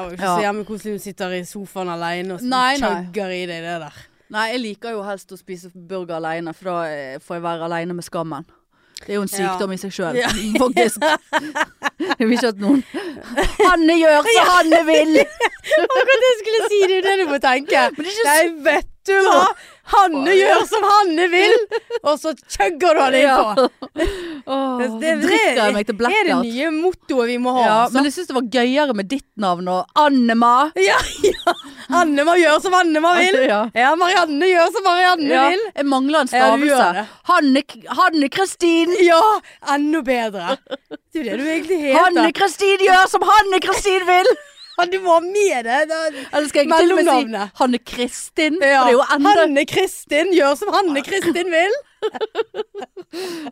var jo ikke Ja. så hjemmekoselig når du sitter i sofaen alene og Nei, nei. chugger i deg det der. Nei, jeg liker jo helst å spise burger alene, for da eh, får jeg være alene med skammen. Det er jo en sykdom i seg sjøl, Ja. *laughs* faktisk. Jeg vil ikke at noen Hanne gjør som Hanne vil! Akkurat det jeg skulle si, det er jo det du må tenke. Men det er ikke Nei, vet du hva? Hanne gjør som Hanne vil, og så chugger du han innpå. *laughs* Åh, Det, så det, drikker jeg meg til det er det blackout. nye mottoet vi må ha. Ja, altså. men jeg syns det var gøyere med ditt navn og Annema. *laughs* ja, ja. Anne må gjøre som Anne må vil. Ja. Ja, Marianne gjør som Marianne Ja, vil. jeg mangler en Ja, du gjør stavelse. det. Hanne, Hanne Kristin! Ja, enda bedre. Det er jo det du egentlig Hanne heter. Kristin gjør som Hanne Kristin vil! Ja, du må ha med det. da. *laughs* Eller skal jeg til og med si Mellomnavnet. Hanne Kristin? Ja. For det er jo enda Hanne Kristin gjør som Hanne Kristin vil.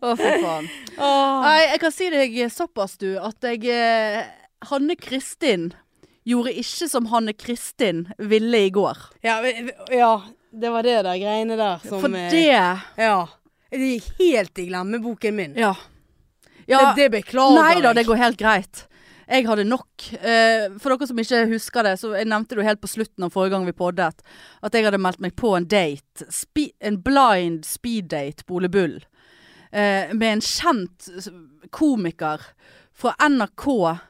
Å, for faen. Åh. Nei, jeg kan si deg såpass, du, at jeg eh, Hanne Kristin gjorde ikke som Hanne Kristin ville i går. Ja, vi- vi- ja, det var det der greiene der som For eh, det Ja. Det gikk helt i glemmeboken min. Ja. Det, ja det beklager nei da, det går helt greit. Jeg hadde nok. Eh, for dere som ikke husker det, så jeg nevnte det jo helt på slutten av forrige gang vi poddet, at jeg hadde meldt meg på en date. Spe en blind speed date på Ole Bull. Eh, med en kjent s- komiker fra NRK,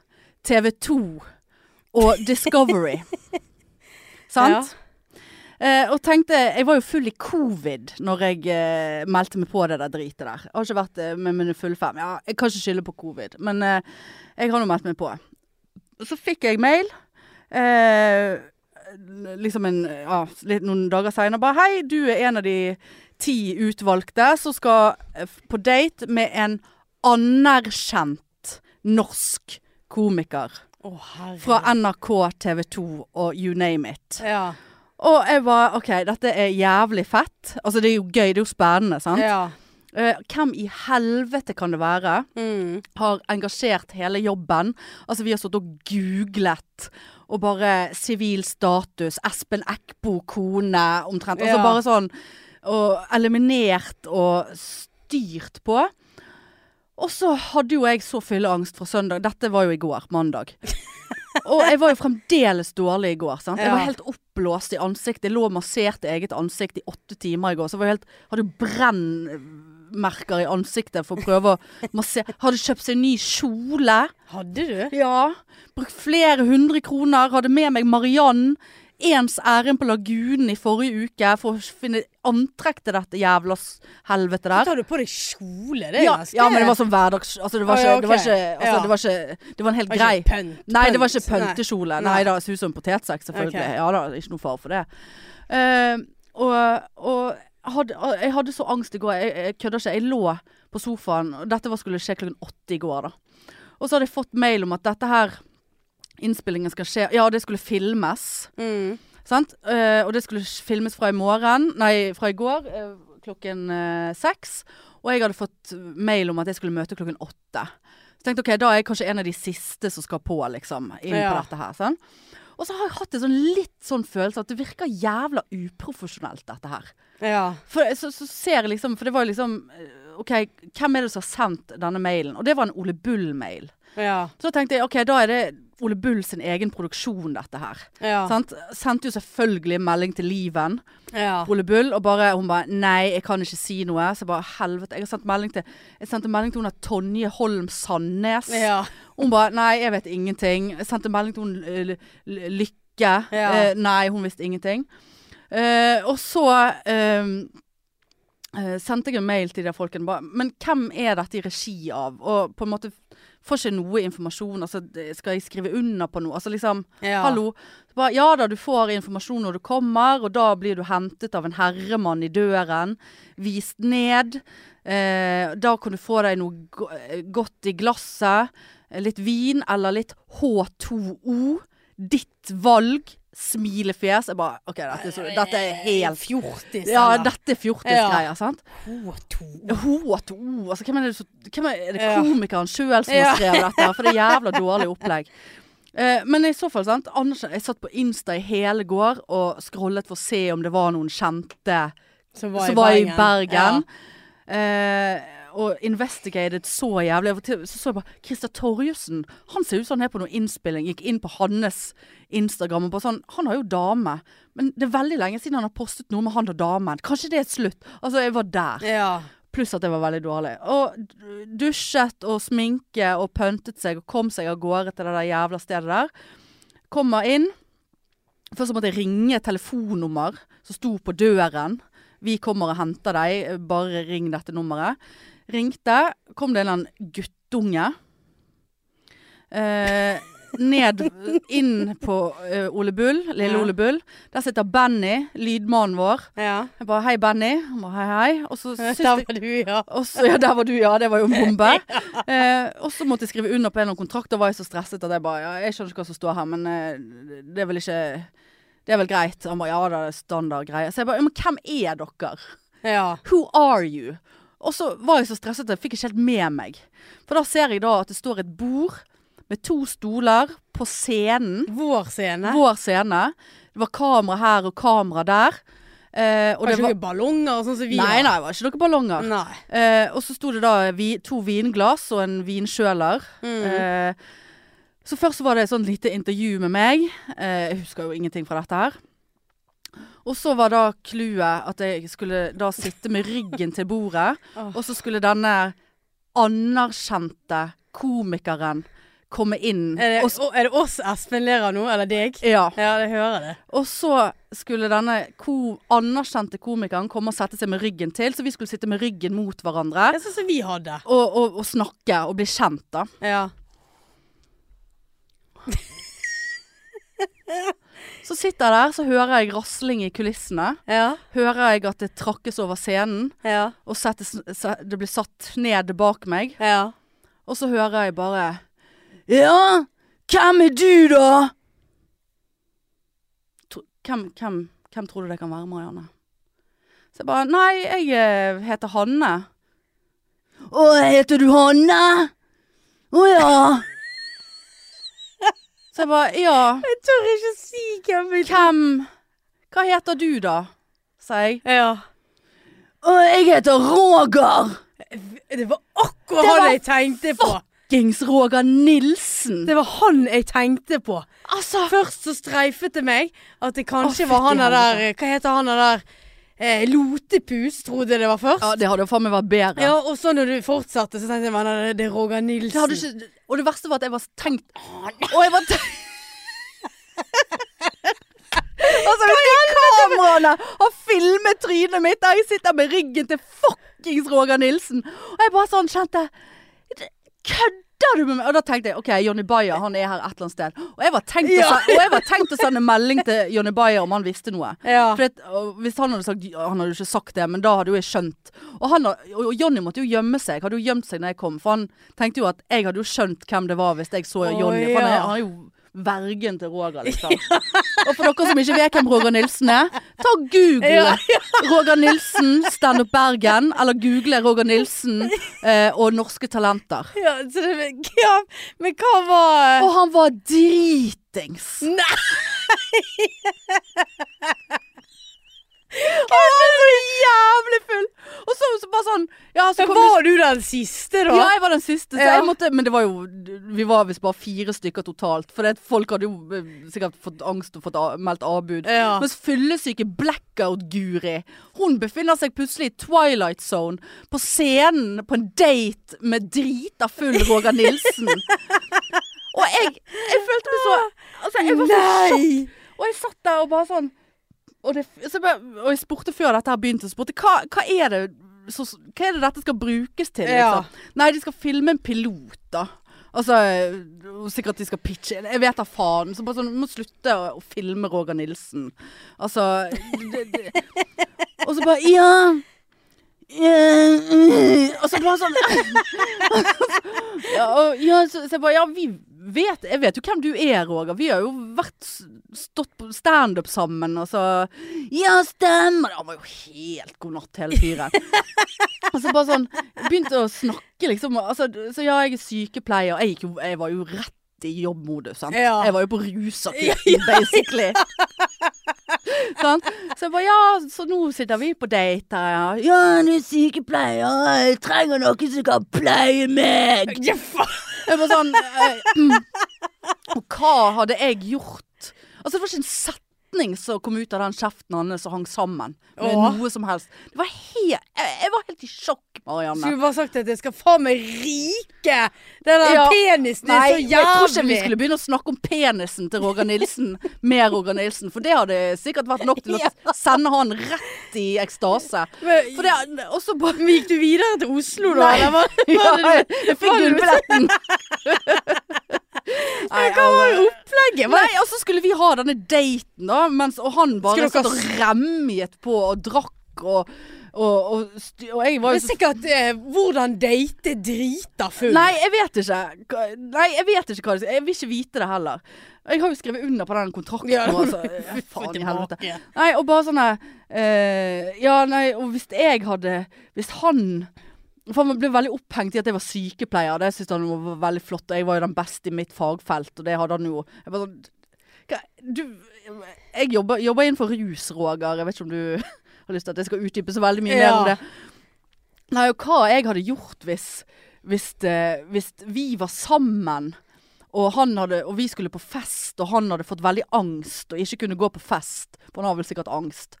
TV 2 og Discovery. Sant? Eh, og tenkte, Jeg var jo full i covid når jeg eh, meldte meg på det der dritet der. Jeg har ikke vært eh, med mine fulle fem. Ja, jeg kan ikke skylde på covid, men eh, jeg har nå meldt meg på. Og så fikk jeg mail. Eh, liksom en, ja, litt, noen dager seinere bare Hei, du er en av de ti utvalgte som skal eh, f- på date med en anerkjent norsk komiker Å, herre. fra NRK, TV 2 og you name it. Ja. Og jeg var OK, dette er jævlig fett. Altså, det er jo gøy, det er jo spennende, sant? ja. Eh, hvem i helvete kan det være? Mm. Har engasjert hele jobben. Altså, vi har stått og googlet og bare sivil status, Espen Eckbo kone, omtrent. Altså Ja. bare sånn og eliminert og styrt på. Og så hadde jo jeg så fylleangst fra søndag. Dette var jo i går, mandag. Og jeg var jo fremdeles dårlig i går. Sant? Jeg var Ja. helt oppblåst i ansiktet. Jeg lå og masserte eget ansikt i åtte timer i går. Så jeg var jo helt, hadde jo brennmerker i ansiktet for å prøve å massere. Hadde kjøpt seg ny kjole. Hadde du? Ja. Brukt flere hundre kroner. Hadde med meg Mariann. Ens ærend på Lagunen i forrige uke for å finne antrekk til dette jævla s- helvete der. Så tar du på deg kjole, det er Ja, ganske ja, men det var sånn hverdags... Altså, det var Å, ikke, ja, det, var ok. ikke, altså, Ja. det var ikke Det var en helt Var grei ikke Pønt. Nei, det var ikke Pønt. Nei. pøntekjole. Nei, Nei. da, sus som en potetsekk, selvfølgelig. Ok. Ja da, det er ikke noe fare for det. Eh, og og hadde, jeg hadde så angst i går. Jeg, jeg kødder ikke. Jeg lå på sofaen. og Dette var- skulle skje klokken åtte i går, da. Og så hadde jeg fått mail om at dette her Innspillingen skal skje Ja, det skulle filmes. Mm. Sant? Eh, og det skulle s- filmes fra i morgen Nei, fra i går eh, klokken eh, seks. Og jeg hadde fått mail om at jeg skulle møte klokken åtte. Så tenkte jeg ok, da er jeg kanskje en av de siste som skal på, liksom. Inn på Ja. dette her. Sånn. Og så har jeg hatt en sånn litt sånn følelse at det virker jævla uprofesjonelt, dette her. Ja. For, eh, så, så ser jeg liksom, for det var jo liksom eh, OK, hvem er det som har sendt denne mailen? Og det var en Ole Bull-mail. Ja. Så tenkte jeg OK, da er det Ole Bull sin egen produksjon, dette her. Ja. Sant? Sendte jo selvfølgelig en melding til Liven, ja. Ole Bull, og bare, hun bare 'nei, jeg kan ikke si noe'. Så jeg bare helvete. Jeg har sendt melding til Jeg sendte melding til hun der Tonje Holm Sandnes. Ja. Hun bare 'nei, jeg vet ingenting'. Jeg sendte melding til hun eh, L- L- Lykke. Ja. Eh, nei, hun visste ingenting. Eh, og så eh, eh, sendte jeg en mail til de folkene bare 'men hvem er dette i regi av?' Og på en måte får ikke noe informasjon. Altså, det- skal jeg skrive under på noe? Altså liksom ja. Hallo. Så Bare, ja da, du får informasjon når du kommer, og da blir du hentet av en herremann i døren. Vist ned. Eh, da kan du få deg noe go eh, godt i glasset. eh, Litt vin eller litt H2O. Ditt valg. Smilefjes. Jeg bare OK, dette, er så- dette er helt Fjortis, Ja, eller? dette er fjortisgreier, sant? H2. H2O. Altså, hvem er det, som- hvem er, er det Ja. komikeren sjøl som Ja. har skrevet dette? her? For det er *laughs* jævla dårlig opplegg. Eh, men i så fall, sant. Anerkjenn. Jeg satt på Insta i hele går og scrollet for å se om det var noen kjente Som som var i Bergen. Eh, og investigated så jævlig. Jeg var til- Så så jeg bare Christer Torjussen. Han ser ut som han er på noe innspilling. Gikk inn på hans Instagram og bare sånn Han har jo dame. Men det er veldig lenge siden han har postet noe med han og damen. Kanskje det er slutt? Altså, jeg var der. Ja. ja. Pluss at jeg var veldig dårlig. Og d- dusjet og sminke og pøntet seg og kom seg av gårde til det der jævla stedet der. Kommer inn. Først så måtte jeg ringe et telefonnummer som sto på døren. Vi kommer og henter deg, bare ring dette nummeret. Ringte, kom det en eller annen guttunge. Eh, ned, inn på eh, Ole Bull, lille Ja. Ole Bull. Der sitter Benny, lydmannen vår. ja. Jeg bare hei, Benny. Han bare hei, hei. Og så syns Der var du, ja. og så, ja, der var du, ja. Det var jo en bombe. Eh, og så måtte jeg skrive under på en eller annen kontrakt. Da var jeg så stresset at jeg bare ja, Jeg skjønner ikke hva som står her, men eh, det er vel ikke Det er vel greit? Han bare ja da, det er standard greie. Så jeg bare ja, men hvem er dere? Ja. Who are you? Og så var jeg så stresset at jeg fikk ikke helt med meg. For da ser jeg da at det står et bord med to stoler på scenen. Vår scene. Vår scene. Det var kamera her og kamera der. Eh, og Har det ikke var noen ballonger og sånn som vi Nei, har? nei, det var ikke noen ballonger. Nei. Eh, og så sto det da vi, to vinglass og en vinkjøler. Mm. Eh, Så først var det et sånt lite intervju med meg. Eh, jeg husker jo ingenting fra dette her. Og så var da clouet at jeg skulle da sitte med ryggen til bordet, *laughs* Åh. og så skulle denne anerkjente komikeren komme inn. Er det, Og, s- å, er det oss Espen ler av nå, eller deg? ja. Ja, jeg hører det. og så skulle denne ko anerkjente komikeren komme og sette seg med ryggen til, så vi skulle sitte med ryggen mot hverandre Det er sånn som vi hadde. og, og, og snakke og bli kjent, da. Ja. Så sitter jeg der, så hører jeg rasling i kulissene. Ja. Hører jeg at det trakkes over scenen. Ja. og settes, se- det blir satt ned bak meg. Ja. Og så hører jeg bare Ja, hvem er du, da? Tro, hvem, hvem, hvem tror du det kan være, Marianne? Så jeg bare Nei, jeg eh, heter Hanne. Å, heter du Hanne? Å ja. Så jeg bare Ja, Jeg tør ikke si hvem jeg hvem Hva heter du, da? sa jeg. Ja. Å, jeg heter Roger. Det var akkurat Det var han jeg tenkte på. Fuckings Roger Nilsen. Det var han jeg tenkte på. Altså Først så streifet det meg at det kanskje Å, var han fytti der Hva heter han der eh, Lotepus, trodde jeg det var først. Ja, det hadde jo faen meg vært bedre. Ja, og så når du fortsatte, så tenkte jeg men det- det er Roger Nilsen. Det hadde ikke, og det verste var at jeg var tenkt Og jeg var tenkt *laughs* Altså, hvis de kameraene har filmet trynet mitt der jeg sitter med ryggen til fuckings Roger Nilsen, og jeg bare sånn kjente Kødder du med meg? Og da tenkte jeg OK, Jonny Bayer, han er her et eller annet sted. Og jeg var tenkt, Ja. å, se- og jeg var tenkt å sende melding til Jonny Bayer om han visste noe. Ja. For at, og hvis han hadde sagt Han hadde jo ikke sagt det, men da hadde jo jeg skjønt. Og, han, har- og Jonny måtte jo gjemme seg. Hadde jo gjemt seg når jeg kom. For han tenkte jo at jeg hadde jo skjønt hvem det var hvis jeg så Å, Jonny. For han er, ja. han er jo vergen til Roger, *laughs* liksom. og for dere som ikke vet hvem Roger Nilsen er, ta og google Ja, Roger Nilsen, Stand Up Bergen. Eller google Roger Nilsen eh, og Norske Talenter. Ja, så det, ja, men hva var Og han var dritings. Nei! Han var så jævlig full! Og så, så bare sånn Ja, så Men kom vi var du den siste, da? Ja, jeg var den siste, så Ja. jeg måtte Men det var jo Vi var visst bare fire stykker totalt. For det, at folk hadde jo eh, sikkert fått angst og fått a meldt avbud. Ja. Mens fyllesyke blackout-Guri, hun befinner seg plutselig i Twilight Zone. På scenen på en date med drita full Roger *laughs* Nilsen. og jeg, jeg følte meg så Altså, jeg var så sjokk. Nei! Og jeg satt der og bare sånn Og, det, så jeg, bare- og jeg spurte før dette her begynte, så spurte jeg, hva, hva er det så, Hva er det dette skal brukes til? Ja. Liksom? Nei, de skal filme en pilot, da. Altså, og sikkert de skal pitche Jeg vet da faen. Så bare sånn, du må slutte å, å filme Roger Nilsen. Altså det, det. Og så bare Ja. ja, mm», Og så bare sånn ja, og, ja, så, så jeg bare Ja, vi vet Jeg vet jo hvem du er, Roger. Vi har jo vært s- stått på standup sammen, og så Ja, stemmer! Han var jo helt god natt, hele fyren. Og så bare sånn Begynte å snakke, liksom. og- Altså, så ja, jeg er sykepleier. Jeg, gikk jo, jeg var jo rett i jobbmodus, sant. Ja. Jeg var jo på rusatuten, basically. sant? Så jeg bare Ja, så nå sitter vi på date her, ja. Ja, du er sykepleier. Jeg trenger noen som kan pleie meg. Ja, faen. Jeg var sånn eh, mm. Og *clears throat* hva hadde jeg gjort? Altså, det var ikke en setning som kom ut av den kjeften hans som hang sammen. Med Åh. noe som helst. Det var helt, jeg, jeg var helt i sjokk, Marianne. Skulle bare sagt at jeg skal faen meg rike! Den der Ja. penisen er så Nei, jævlig! jeg tror ikke vi skulle begynne å snakke om penisen til Roger Nilsen med Roger Nilsen. For det hadde sikkert vært nok *laughs* til å sende han rett i ekstase. Men- For det, og så bare Men gikk du videre til Oslo, da? Nei. Eller var, *laughs* ja, var det, Jeg fikk *laughs* gullbilletten. Nei, hva var altså. opplegget? Var Nei, og så skulle vi ha denne daten da mens, Og han bare Skulle satt dere og remjet på Og drakk og, og, og, st- og jeg var det jo så sikkert eh, hvordan date drita full. Nei, jeg vet ikke Hva- Nei, jeg vet ikke hva det Jeg vil ikke vite det heller Jeg har jo skrevet under på den kontrakten Ja, nå, *laughs* altså. få ja, Faen i tilbake. helvete Nei, og bare sånn der, eh, Ja, nei, og hvis jeg hadde Hvis han For han ble veldig opphengt i at jeg var sykepleier. Det syntes han var veldig flott, og jeg var jo den beste i mitt fagfelt, og det hadde han jo. Jeg bare sånn hva- Du Jeg jobber, jobber innenfor rus, Roger. Jeg vet ikke om du *laughs* har lyst til at jeg skal utdype så veldig mye mer om Ja. det. eh, Nei, og hva jeg hadde gjort hvis hvis, det, hvis vi var sammen Og, han hadde, og vi skulle på fest, og han hadde fått veldig angst og ikke kunne gå på fest. For han har vel sikkert angst.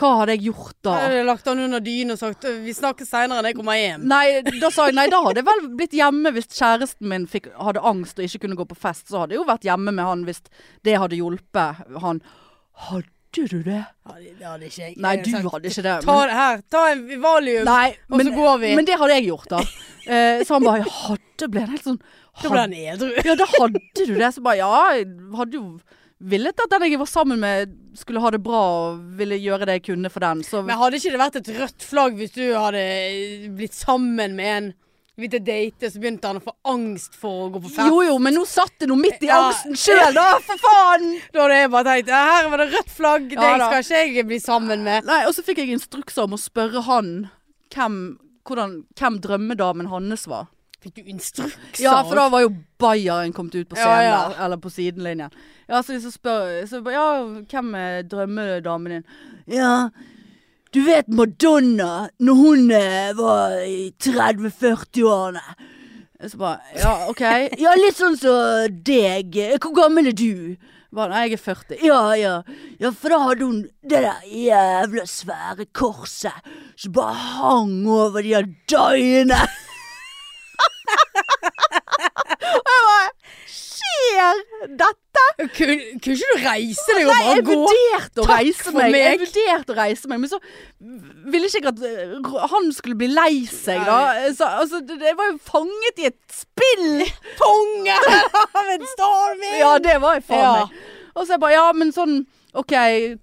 Hva hadde jeg gjort da? Jeg hadde lagt han under dynen og sagt 'vi snakkes seinere når jeg kommer hjem'. Nei, da sa jeg nei, da hadde jeg vel blitt hjemme hvis kjæresten min fikk, hadde angst og ikke kunne gå på fest. Så hadde jeg jo vært hjemme med han hvis det hadde hjulpet han. Hadde du det? Ja, det- det hadde ikke jeg. Nei, Jeg du sagt, hadde ikke det. Ta det her, ta en Valium. nei, og så går vi. Men det hadde jeg gjort, da. Eh, så han bare ja, hadde ble han helt sånn Da ble hadde, han edru. Ja, da hadde du det. Så bare ja, jeg hadde jo villet at den jeg var sammen med skulle ha det bra og ville gjøre det jeg kunne for den. Så Men hadde ikke det vært et rødt flagg hvis du hadde blitt sammen med en Begynte å date, så begynte han å få angst for å gå på fest. jo jo, men nå satt det noe midt i Ja. angsten sjøl, da! For faen! Da hadde jeg bare tenkt "Ja, her var det rødt flagg, Ja, deg da. skal ikke jeg bli sammen med. Nei, og så fikk jeg instrukser om å spørre han hvem, hvordan, hvem drømmedamen hans var. Fikk du instrukser? Ja, for da var jo Bayern kommet ut på Ja, scenen, ja. der, eller på sidelinjen. Ja, så liksom spør så, ba- Ja, hvem er drømmedamen din? Ja, du vet Madonna, når hun eh, var i 30-40-årene. Så bare Ja, OK. *laughs* Ja, litt sånn som deg. Hvor gammel er du? Bare, Nei, jeg er 40. Ja, ja. Ja, for da hadde hun det der jævla svære korset som bare hang over de der døgnene. Skjer dette? Kunne, kunne ikke du reise deg og Nei, bare jeg gå? vurderte å Takk reise for meg. Jeg meg. vurderte å reise meg, men så ville ikke jeg at eh, Ro- han skulle bli lei seg, da. Så, altså, det- jeg var jo fanget i et spill. *laughs* Ponge *laughs* av en stormvind! Ja, det var jeg faen Ja. meg. Og så jeg bare, ja, men sånn OK,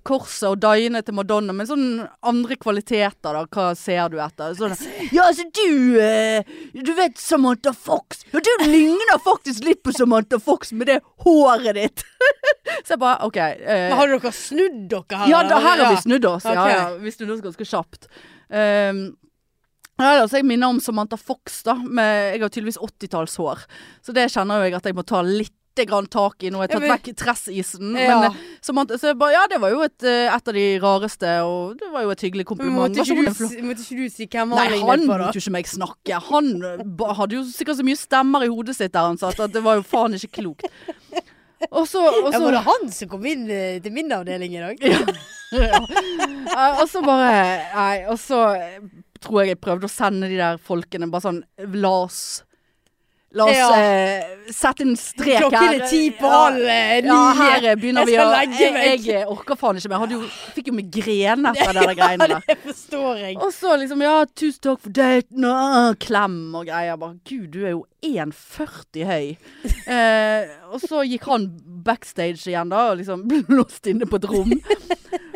korset og døgnet til Madonna, men sånn andre kvaliteter, da? Hva ser du etter? Sånn, ja, altså du eh, Du vet Samantha Fox. Ja, du ligner faktisk litt på Samantha Fox med det håret ditt. *laughs* så jeg bare OK. eh, Men hadde dere snudd dere her? Ja, da, eller? her har vi snudd oss. Ja, Ok. ja, vi snudde oss ganske kjapt. Um, ja, da, så altså jeg minner om Samantha Fox, da. Med, jeg har tydeligvis 80-tallshår. Så det kjenner jo jeg at jeg må ta litt grann tak i nå. Jeg har Ja, tatt men- vekk tressisen. Ja. Men, eh, Samantha, så jeg bare, ja, det var jo et, eh, et av de rareste, og det var jo et hyggelig Men kompliment. måtte Vær så ikke, god, du, en flott- si- måtte ikke du si hvem han Nei, han lignet på, da? lot jo ikke meg snakke. Han eh, ba, hadde jo sikkert så mye stemmer i hodet sitt der han satt, at det var jo faen ikke klokt. Og så, og Ja, så var det han som kom inn eh, til min avdeling i dag? Eh, Og så bare Nei, og så eh, tror jeg jeg prøvde å sende de der folkene bare sånn La oss La oss Ja. eh, sette en strek her. Klokken er ti på halv eh, ni. Ja, her eh, begynner Jeg vi skal å legge meg. Jeg, jeg orker faen ikke mer. Jeg hadde jo, fikk jo migrene *laughs* etter de der greiene der. *laughs* Det forstår jeg. Og så liksom Ja, tusen takk for daten. ah, Klem og greier. Bare gud, du er jo 1,40 høy. Eh, og så gikk han backstage igjen, da, og liksom ble *laughs* låst inne på et rom.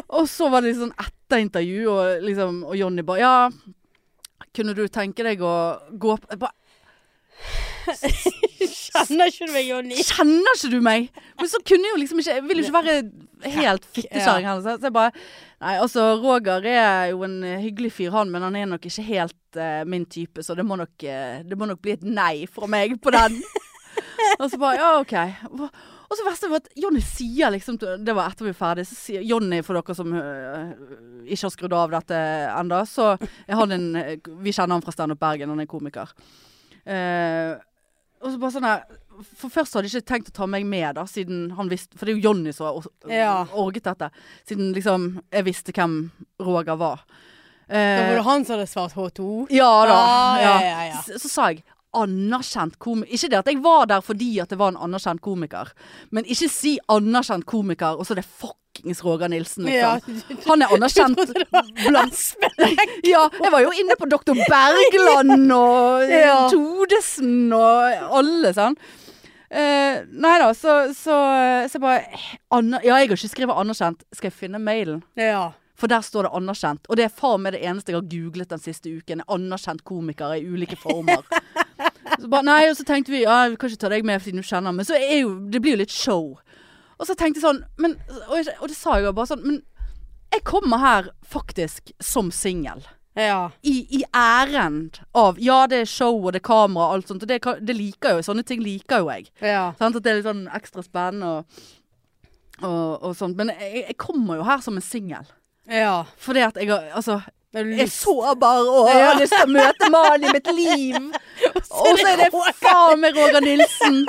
og så var det liksom etter intervju, og liksom Og Jonny bare Ja, kunne du tenke deg å gå på Jeg bare, Kjenner ikke du meg, Jonny? Kjenner ikke du meg? Men så kunne jeg jo liksom ikke Jeg vil jo ikke være helt fittekjerring heller. Så jeg bare Nei, altså, Roger er jo en hyggelig fyr, han, men han er nok ikke helt eh, min type, så det må, nok, eh, det må nok bli et nei fra meg på den. og så bare Ja, OK. Og så verste var at Jonny sier liksom til- Det var etter vi var ferdig, så sier Jonny, for dere som øh, ikke har skrudd av dette enda, så er han en øh, Vi kjenner han fra Stand Up Bergen, han er komiker. Eh, og så bare sånn her For først hadde jeg ikke tenkt å ta meg med, da, siden han visste For det er jo Jonny som har or- Ja. orget dette. Siden liksom jeg visste hvem Roger var. Da Eh, var det han som hadde svart H2. ja da. Ah, ja. ja, ja, ja. Så, så sa jeg anerkjent komiker. Ikke det at jeg var der fordi at det var en anerkjent komiker, men ikke si anerkjent komiker, og så er det fuckings Roger Nilsen, Ja, *laughs* liksom. Han er *laughs* anerkjent blant Ja, jeg var jo inne på Dr. Bergland og Ja. Todesen og alle sånn. Eh, nei da, så, så, så jeg bare aner, Ja, jeg har ikke skrevet anerkjent. Skal jeg finne mailen? ja. For der står det anerkjent. Og det er faen meg det eneste jeg har googlet den siste uken. Anerkjent komikere i ulike former. Så bare, nei, og så tenkte vi ja, vi kan ikke ta deg med siden du kjenner han, men så er jo, det blir jo litt show. Og så tenkte jeg sånn men, og, jeg, og det sa jeg jo bare sånn Men jeg kommer her faktisk som singel. ja. I, I ærend av Ja, det er show og det er kamera og alt sånt, og det, kan- det liker jo Sånne ting liker jo jeg. ja. Sant? At det er litt sånn ekstra spennende og, og, og sånt. Men jeg, jeg kommer jo her som en singel. ja. Fordi at jeg har Altså, Det er jeg er lyst. sårbar og jeg har lyst til *laughs* å møte mannen i mitt liv. Og så er det Roger. faen meg Roger Nilsen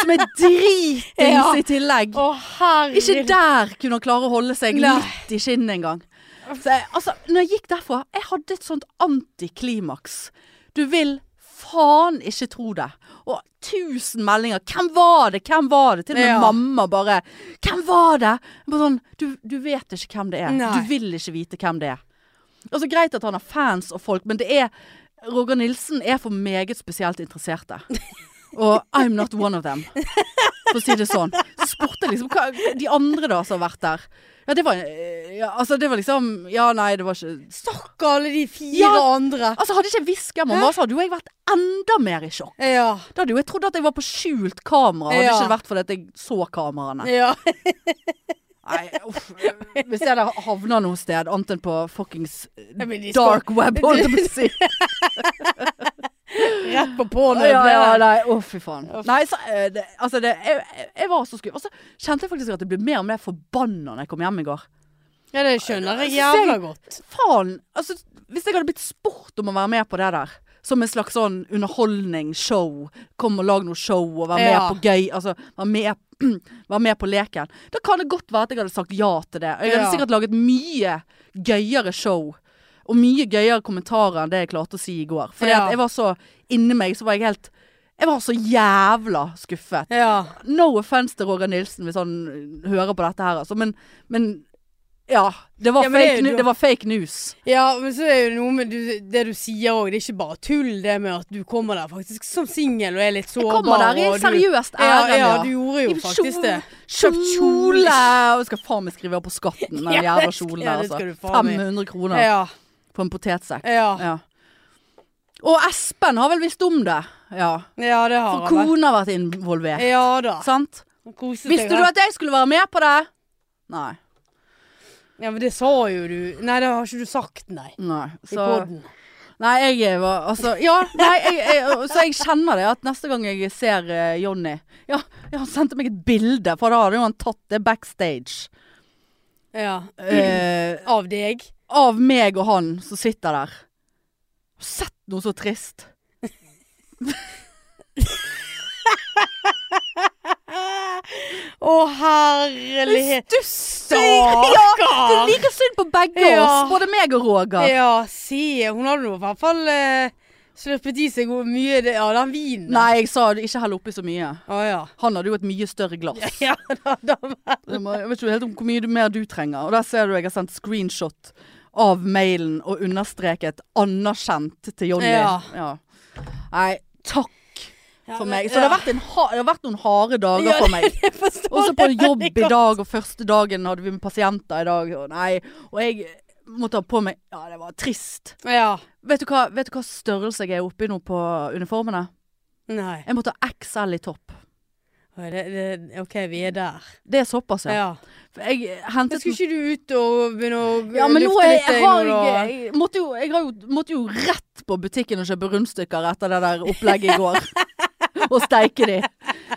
Som er dritings Ja. i tillegg. Å, herregud. Ikke der kunne han klare å holde seg Nei. litt i skinnet engang. Så jeg- Altså, når jeg gikk derfra Jeg hadde et sånt antiklimaks. Du vil faen ikke tro det. Og tusen meldinger. Hvem var det? Hvem var det? Til og med Ja. mamma bare Hvem var det? Jeg Bare sånn, du, du vet ikke hvem det er. Nei. Du vil ikke vite hvem det er. Altså, greit at han har fans og folk, men det er Roger Nilsen er for meget spesielt *laughs* interesserte. Og I'm not one of them. For å si det sånn. Så spurte jeg liksom hva de andre da som har vært der. Ja, det var eh, ja, Altså, det var liksom Ja, nei, det var ikke Stakkar alle de fire Ja. andre. Altså, hadde ikke jeg visst hvem han var, så hadde jo jeg vært enda mer i sjokk. Ja. Da hadde jo jeg trodd at jeg var på skjult kamera, hadde Ja. ikke det vært fordi at jeg så kameraene. ja. *laughs* Nei, uff. eh, Hvis jeg hadde havna noe sted, annet enn på fuckings Ja, men de skal- dark web, holdt jeg på *laughs* å si. Rett på på'n. Ja, ja, nei, å fy faen. Uff. Nei, så, eh, det, altså det, jeg, jeg- jeg var så skuffet. Og så kjente jeg faktisk at jeg ble mer og mer forbanna når jeg kom hjem i går. ja, det skjønner jeg jævla godt. Faen! Altså, hvis jeg hadde blitt spurt om å være med på det der, som en slags sånn underholdning, show, kom og lag noe show og vær med Ja. på gøy, altså vær med, *clears throat* vær med på leken, da kan det godt være at jeg hadde sagt ja til det. Og Jeg hadde Ja. sikkert laget mye gøyere show. Og mye gøyere kommentarer enn det jeg klarte å si i går. Fordi Ja. at jeg var så inni meg, så var jeg helt Jeg var så jævla skuffet. Ja. No offense til Roger Nilsen hvis han øh, hører på dette her, altså. Men, men ja. Det var, Ja, men det er fake, jo nu- du- det var fake news. ja, men så er jo noe med du, det du sier òg. Det er ikke bare tull, det med at du kommer der faktisk som singel og er litt sårbar. Jeg kommer der i og du- seriøst Ja, ærend, ja, du gjorde jo I faktisk det. Kjøpt kjole! Og skal faen meg skrive opp på skatten, den *laughs* Ja, det jævla skal- kjolen ja, der, det skal du altså. faen meg. 500 kroner Ja. på en potetsekk. Ja. Ja. Og Espen har vel visst om det. Ja. ja, det har For han vært. kona har vært involvert. Ja da. Sant? Han koste seg, Visste du han. at jeg skulle være med på det? Nei. Ja, men det sa jo du. Nei, det har ikke du sagt, nei. Nei. I Så podden. Nei, jeg var altså Ja, nei, jeg, jeg, så jeg kjenner det at neste gang jeg ser eh, Jonny ja, ja, han sendte meg et bilde, for da hadde jo han tatt det backstage. Ja. Eh, Av deg. av meg og han som sitter der. Har Sett noe så trist. Å, herlighet. Det er Stakkar! like synd på begge Ja. oss, både meg og Roger. Ja, se. Hun hadde nå i hvert fall eh, slurpet i seg hvor mye det- av den vinen. Nei, jeg sa ikke hell oppi så mye. Å ja. *laughs* Han hadde jo et mye større glass. Ja, da, da. Jeg må- jeg vet ikke helt om hvor mye du- mer du trenger. Og der ser du jeg har sendt screenshot av mailen og understreket 'anerkjent' til Jonny. Ja. Nei, takk for meg. Så Ja. det har vært, en ha det har vært noen harde dager for *laughs* meg. Jeg forstår Også på jobb veldig i godt. dag, og første dagen hadde vi med pasienter i dag. Og nei, og jeg måtte ha på meg Ja, det var trist. Ja. Vet du hva, vet du hva størrelse jeg er oppi nå på uniformene? Nei. Jeg måtte ha XL i topp. Å, Det, det, OK, vi er der. Det er såpass, Ja. ja. For Jeg hentet Men skulle ikke du ut og begynne å Ja, men nå lufte er, litt jeg, deg har nå, da? jeg, jeg, måtte jo, jeg har jo, måtte jo rett på butikken og kjøpe rundstykker etter det der opplegget i går. *laughs* og steike de.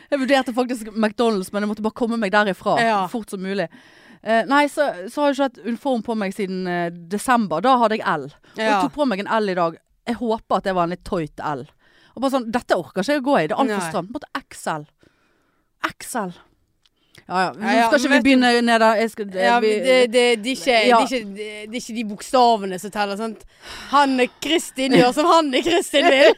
Jeg vurderte faktisk McDonald's, men jeg måtte bare komme meg derifra Ja. fort som mulig. Eh, nei, så, så har jeg ikke hatt uniform på meg siden eh, desember. Da hadde jeg L. Og jeg Ja. tok på meg en L i dag. Jeg håper at det var en litt tøyt L. Og bare sånn, Dette orker ikke jeg å gå i. Det er altfor Nei. stramt. Måtte XL. XL. Ja ja. Nå Ja, ja, skal ikke vi men vet begynne ned der. Jeg skal, Ja, vi, men det, det, det, er ikke, Ja. det, er ikke, det er ikke de bokstavene som teller. Sant? Hanne Kristin gjør som Hanne Kristin *laughs* vil.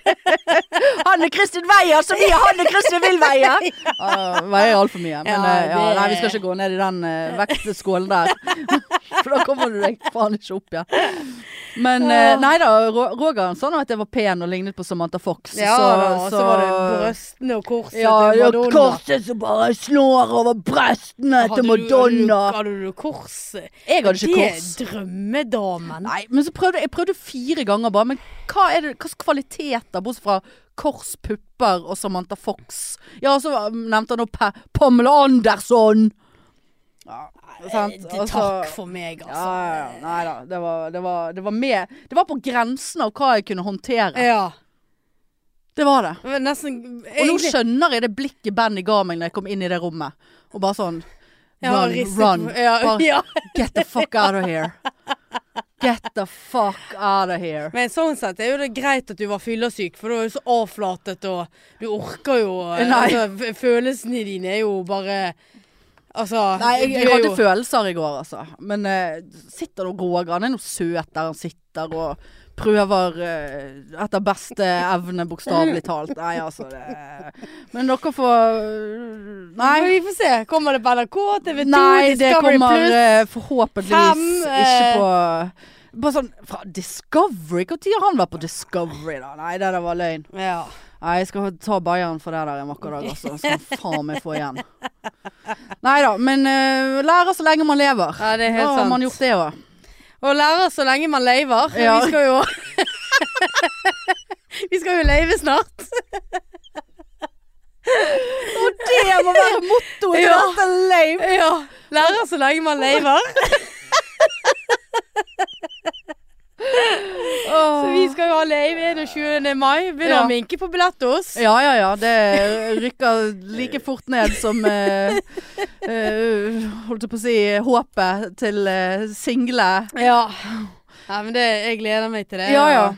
Hanne Kristin veier så mye Hanne Kristin vil *laughs* veie! Uh, veier altfor mye. Men Ja, eh, ja, det- nei, vi skal ikke gå ned i den eh, vektskålen der. *laughs* For da kommer du deg faen ikke opp igjen. Men eh, nei da, Ro- Roger han sa nå at jeg var pen og lignet på Samantha Fox. Ja, så, da, og så var det brøstene og korset altså. ja, til ja, Madonna. korset som bare slår over brøstene Hadde til du- Madonna. Hadde du, hadde du korset? Jeg hadde ikke kors. Det er drømmedamen. Nei, men så prøvde jeg prøvde fire ganger bare. Men hva er det, hva slags kvaliteter, bortsett fra kors, pupper og Samantha Fox? Ja, og så var- nevnte han nå Pa- Pamela Andersson! Ja, sant? Det- Og så- Takk for meg, altså. Ja, ja, ja. nei da. Det var, det, var, det var med Det var på grensen av hva jeg kunne håndtere. Ja. Det var det. Men Nesten Og nå egentlig- skjønner jeg det blikket Benny ga meg når jeg kom inn i det rommet. Og bare sånn Jeg har Run, ristet run. på- *laughs* Ja, Bare- ja. Get the fuck out of here. Get the fuck out of here. Men sånn sett er jo det greit at du var fyllesyk, for du er jo så avflatet, og du orker jo eh, Nei. altså, f- Følelsene dine er jo bare Altså Nei, jeg, du jeg er hadde jo- følelser i går, altså. Men eh, sitter nå Roger, han er nå søt der han sitter og prøver eh, etter beste evne, bokstavelig talt. Nei, altså det Men dere får eh, Nei. Men Vi får se. Kommer det på NRK, TV 2, Nei, det Discovery kommer Plus? eh, forhåpentligvis Fem, ikke eh, på Bare sånn fra Discovery? Når har han vært på Discovery, da? Nei, det der var løgn. Ja. Nei, jeg skal ta Bayern for det der en vakker dag, altså. Skal han faen meg få igjen. Nei da, men eh, lære så lenge man lever. ja, det er Da helt har sant. man gjort det òg. Og lærer så lenge man leiver. Ja. Vi skal jo *laughs* Vi skal jo leive snart. Og det må være mottoet Ja. dette lame! Ja. Lærer så lenge man leiver. Så vi skal jo ha leiv 21. mai. Begynner Ja. å minke på Billettos. Ja ja ja, det rykker like fort ned som *laughs* eh, eh, Holdt jeg på å si håpet til eh, single. Ja. Nei, men det, jeg gleder meg til det. Ja ja.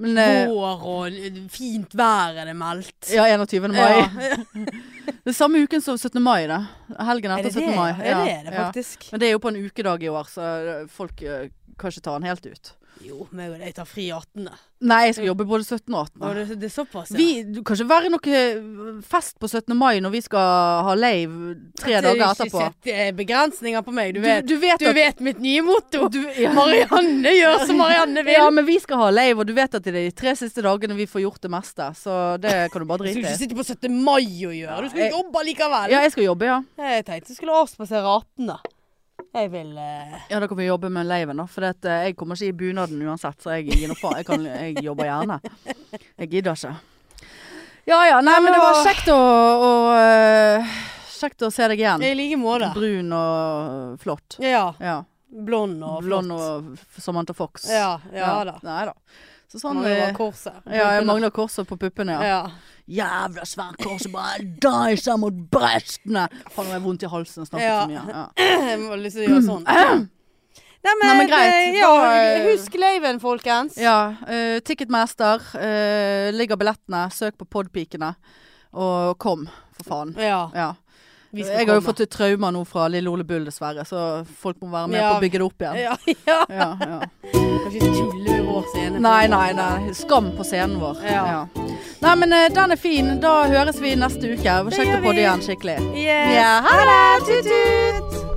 Men eh, Vår og l- fint vær er det meldt. Ja, 21. mai. Ja. Det er samme uken som 17. mai, da. Helgen Er etter det 17. det? mai. Ja, det er det ja. faktisk. Men det er jo på en ukedag i år, så eh, folk eh, kan ikke ta den helt ut. Jo, meg og deg tar fri 18. Nei, jeg skal jobbe både 17. og 18. Og det, det er såpass, Vi, du kan ikke være noe eh, fest på 17. mai når vi skal ha lave tre Det er dager ikke etterpå. sett, eh, begrensninger på meg, du Du, vet. du vet Du at vet mitt nye motto. du, ja. Marianne gjør som Marianne *laughs* vil. ja, men vi skal ha lave, og du vet at det er de tre siste dagene vi får gjort det meste. Så det kan du *laughs* bare du skal jo drite ikke i. sitte på 17. mai og gjøre. Du skal Nei. jo jobbe likevel. Ja, jeg skal jobbe, ja. Jeg tenkte jeg skulle avspasere 18. da. Jeg vil eh, Ja, da kan vi jobbe med leiven, da. For at, eh, jeg kommer ikke i bunaden uansett, så jeg gir nå faen. Jeg, kan, jeg jobber gjerne. Jeg gidder ikke. Ja ja, nei, men det var kjekt å, å eh, Kjekt å se deg igjen. I like måte. Brun og flott. Ja. Ja. Blond og Blond flott. og f- Samantha Fox. Ja, ja da. Nei da. Så sånn Sånn eh, var korset. Ja, jeg mangler korset på puppene, ja. ja. Jævla svært kors som bare deiser mot brystene! Faen, nå har jeg vondt i halsen og snakket Ja. så mye. Ja. Jeg må lyst til å gjøre *clears throat* sånn. Nei, men, Nei, men greit. eh, Ja, Da, eh, husk laven, folkens. Ja. eh, Ticketmaster. eh, ligger billettene. Søk på Podpikene. Og kom, for faen. Ja, Ja. vi skal Jeg har jo komme. fått et traumer nå fra Lille Ole Bull, dessverre, så folk må være med Ja. på å bygge det opp igjen. Ja, *laughs* ja. Ja, ja. Kan ikke tulle med vår scene. Nei, nei, nei. Skam på scenen vår. Ja. Nei, men eh, den er fin. Da høres vi neste uke. Det Kjekt gjør å podde vi. igjen skikkelig. Yes. Ja, ha det! Tut-tut!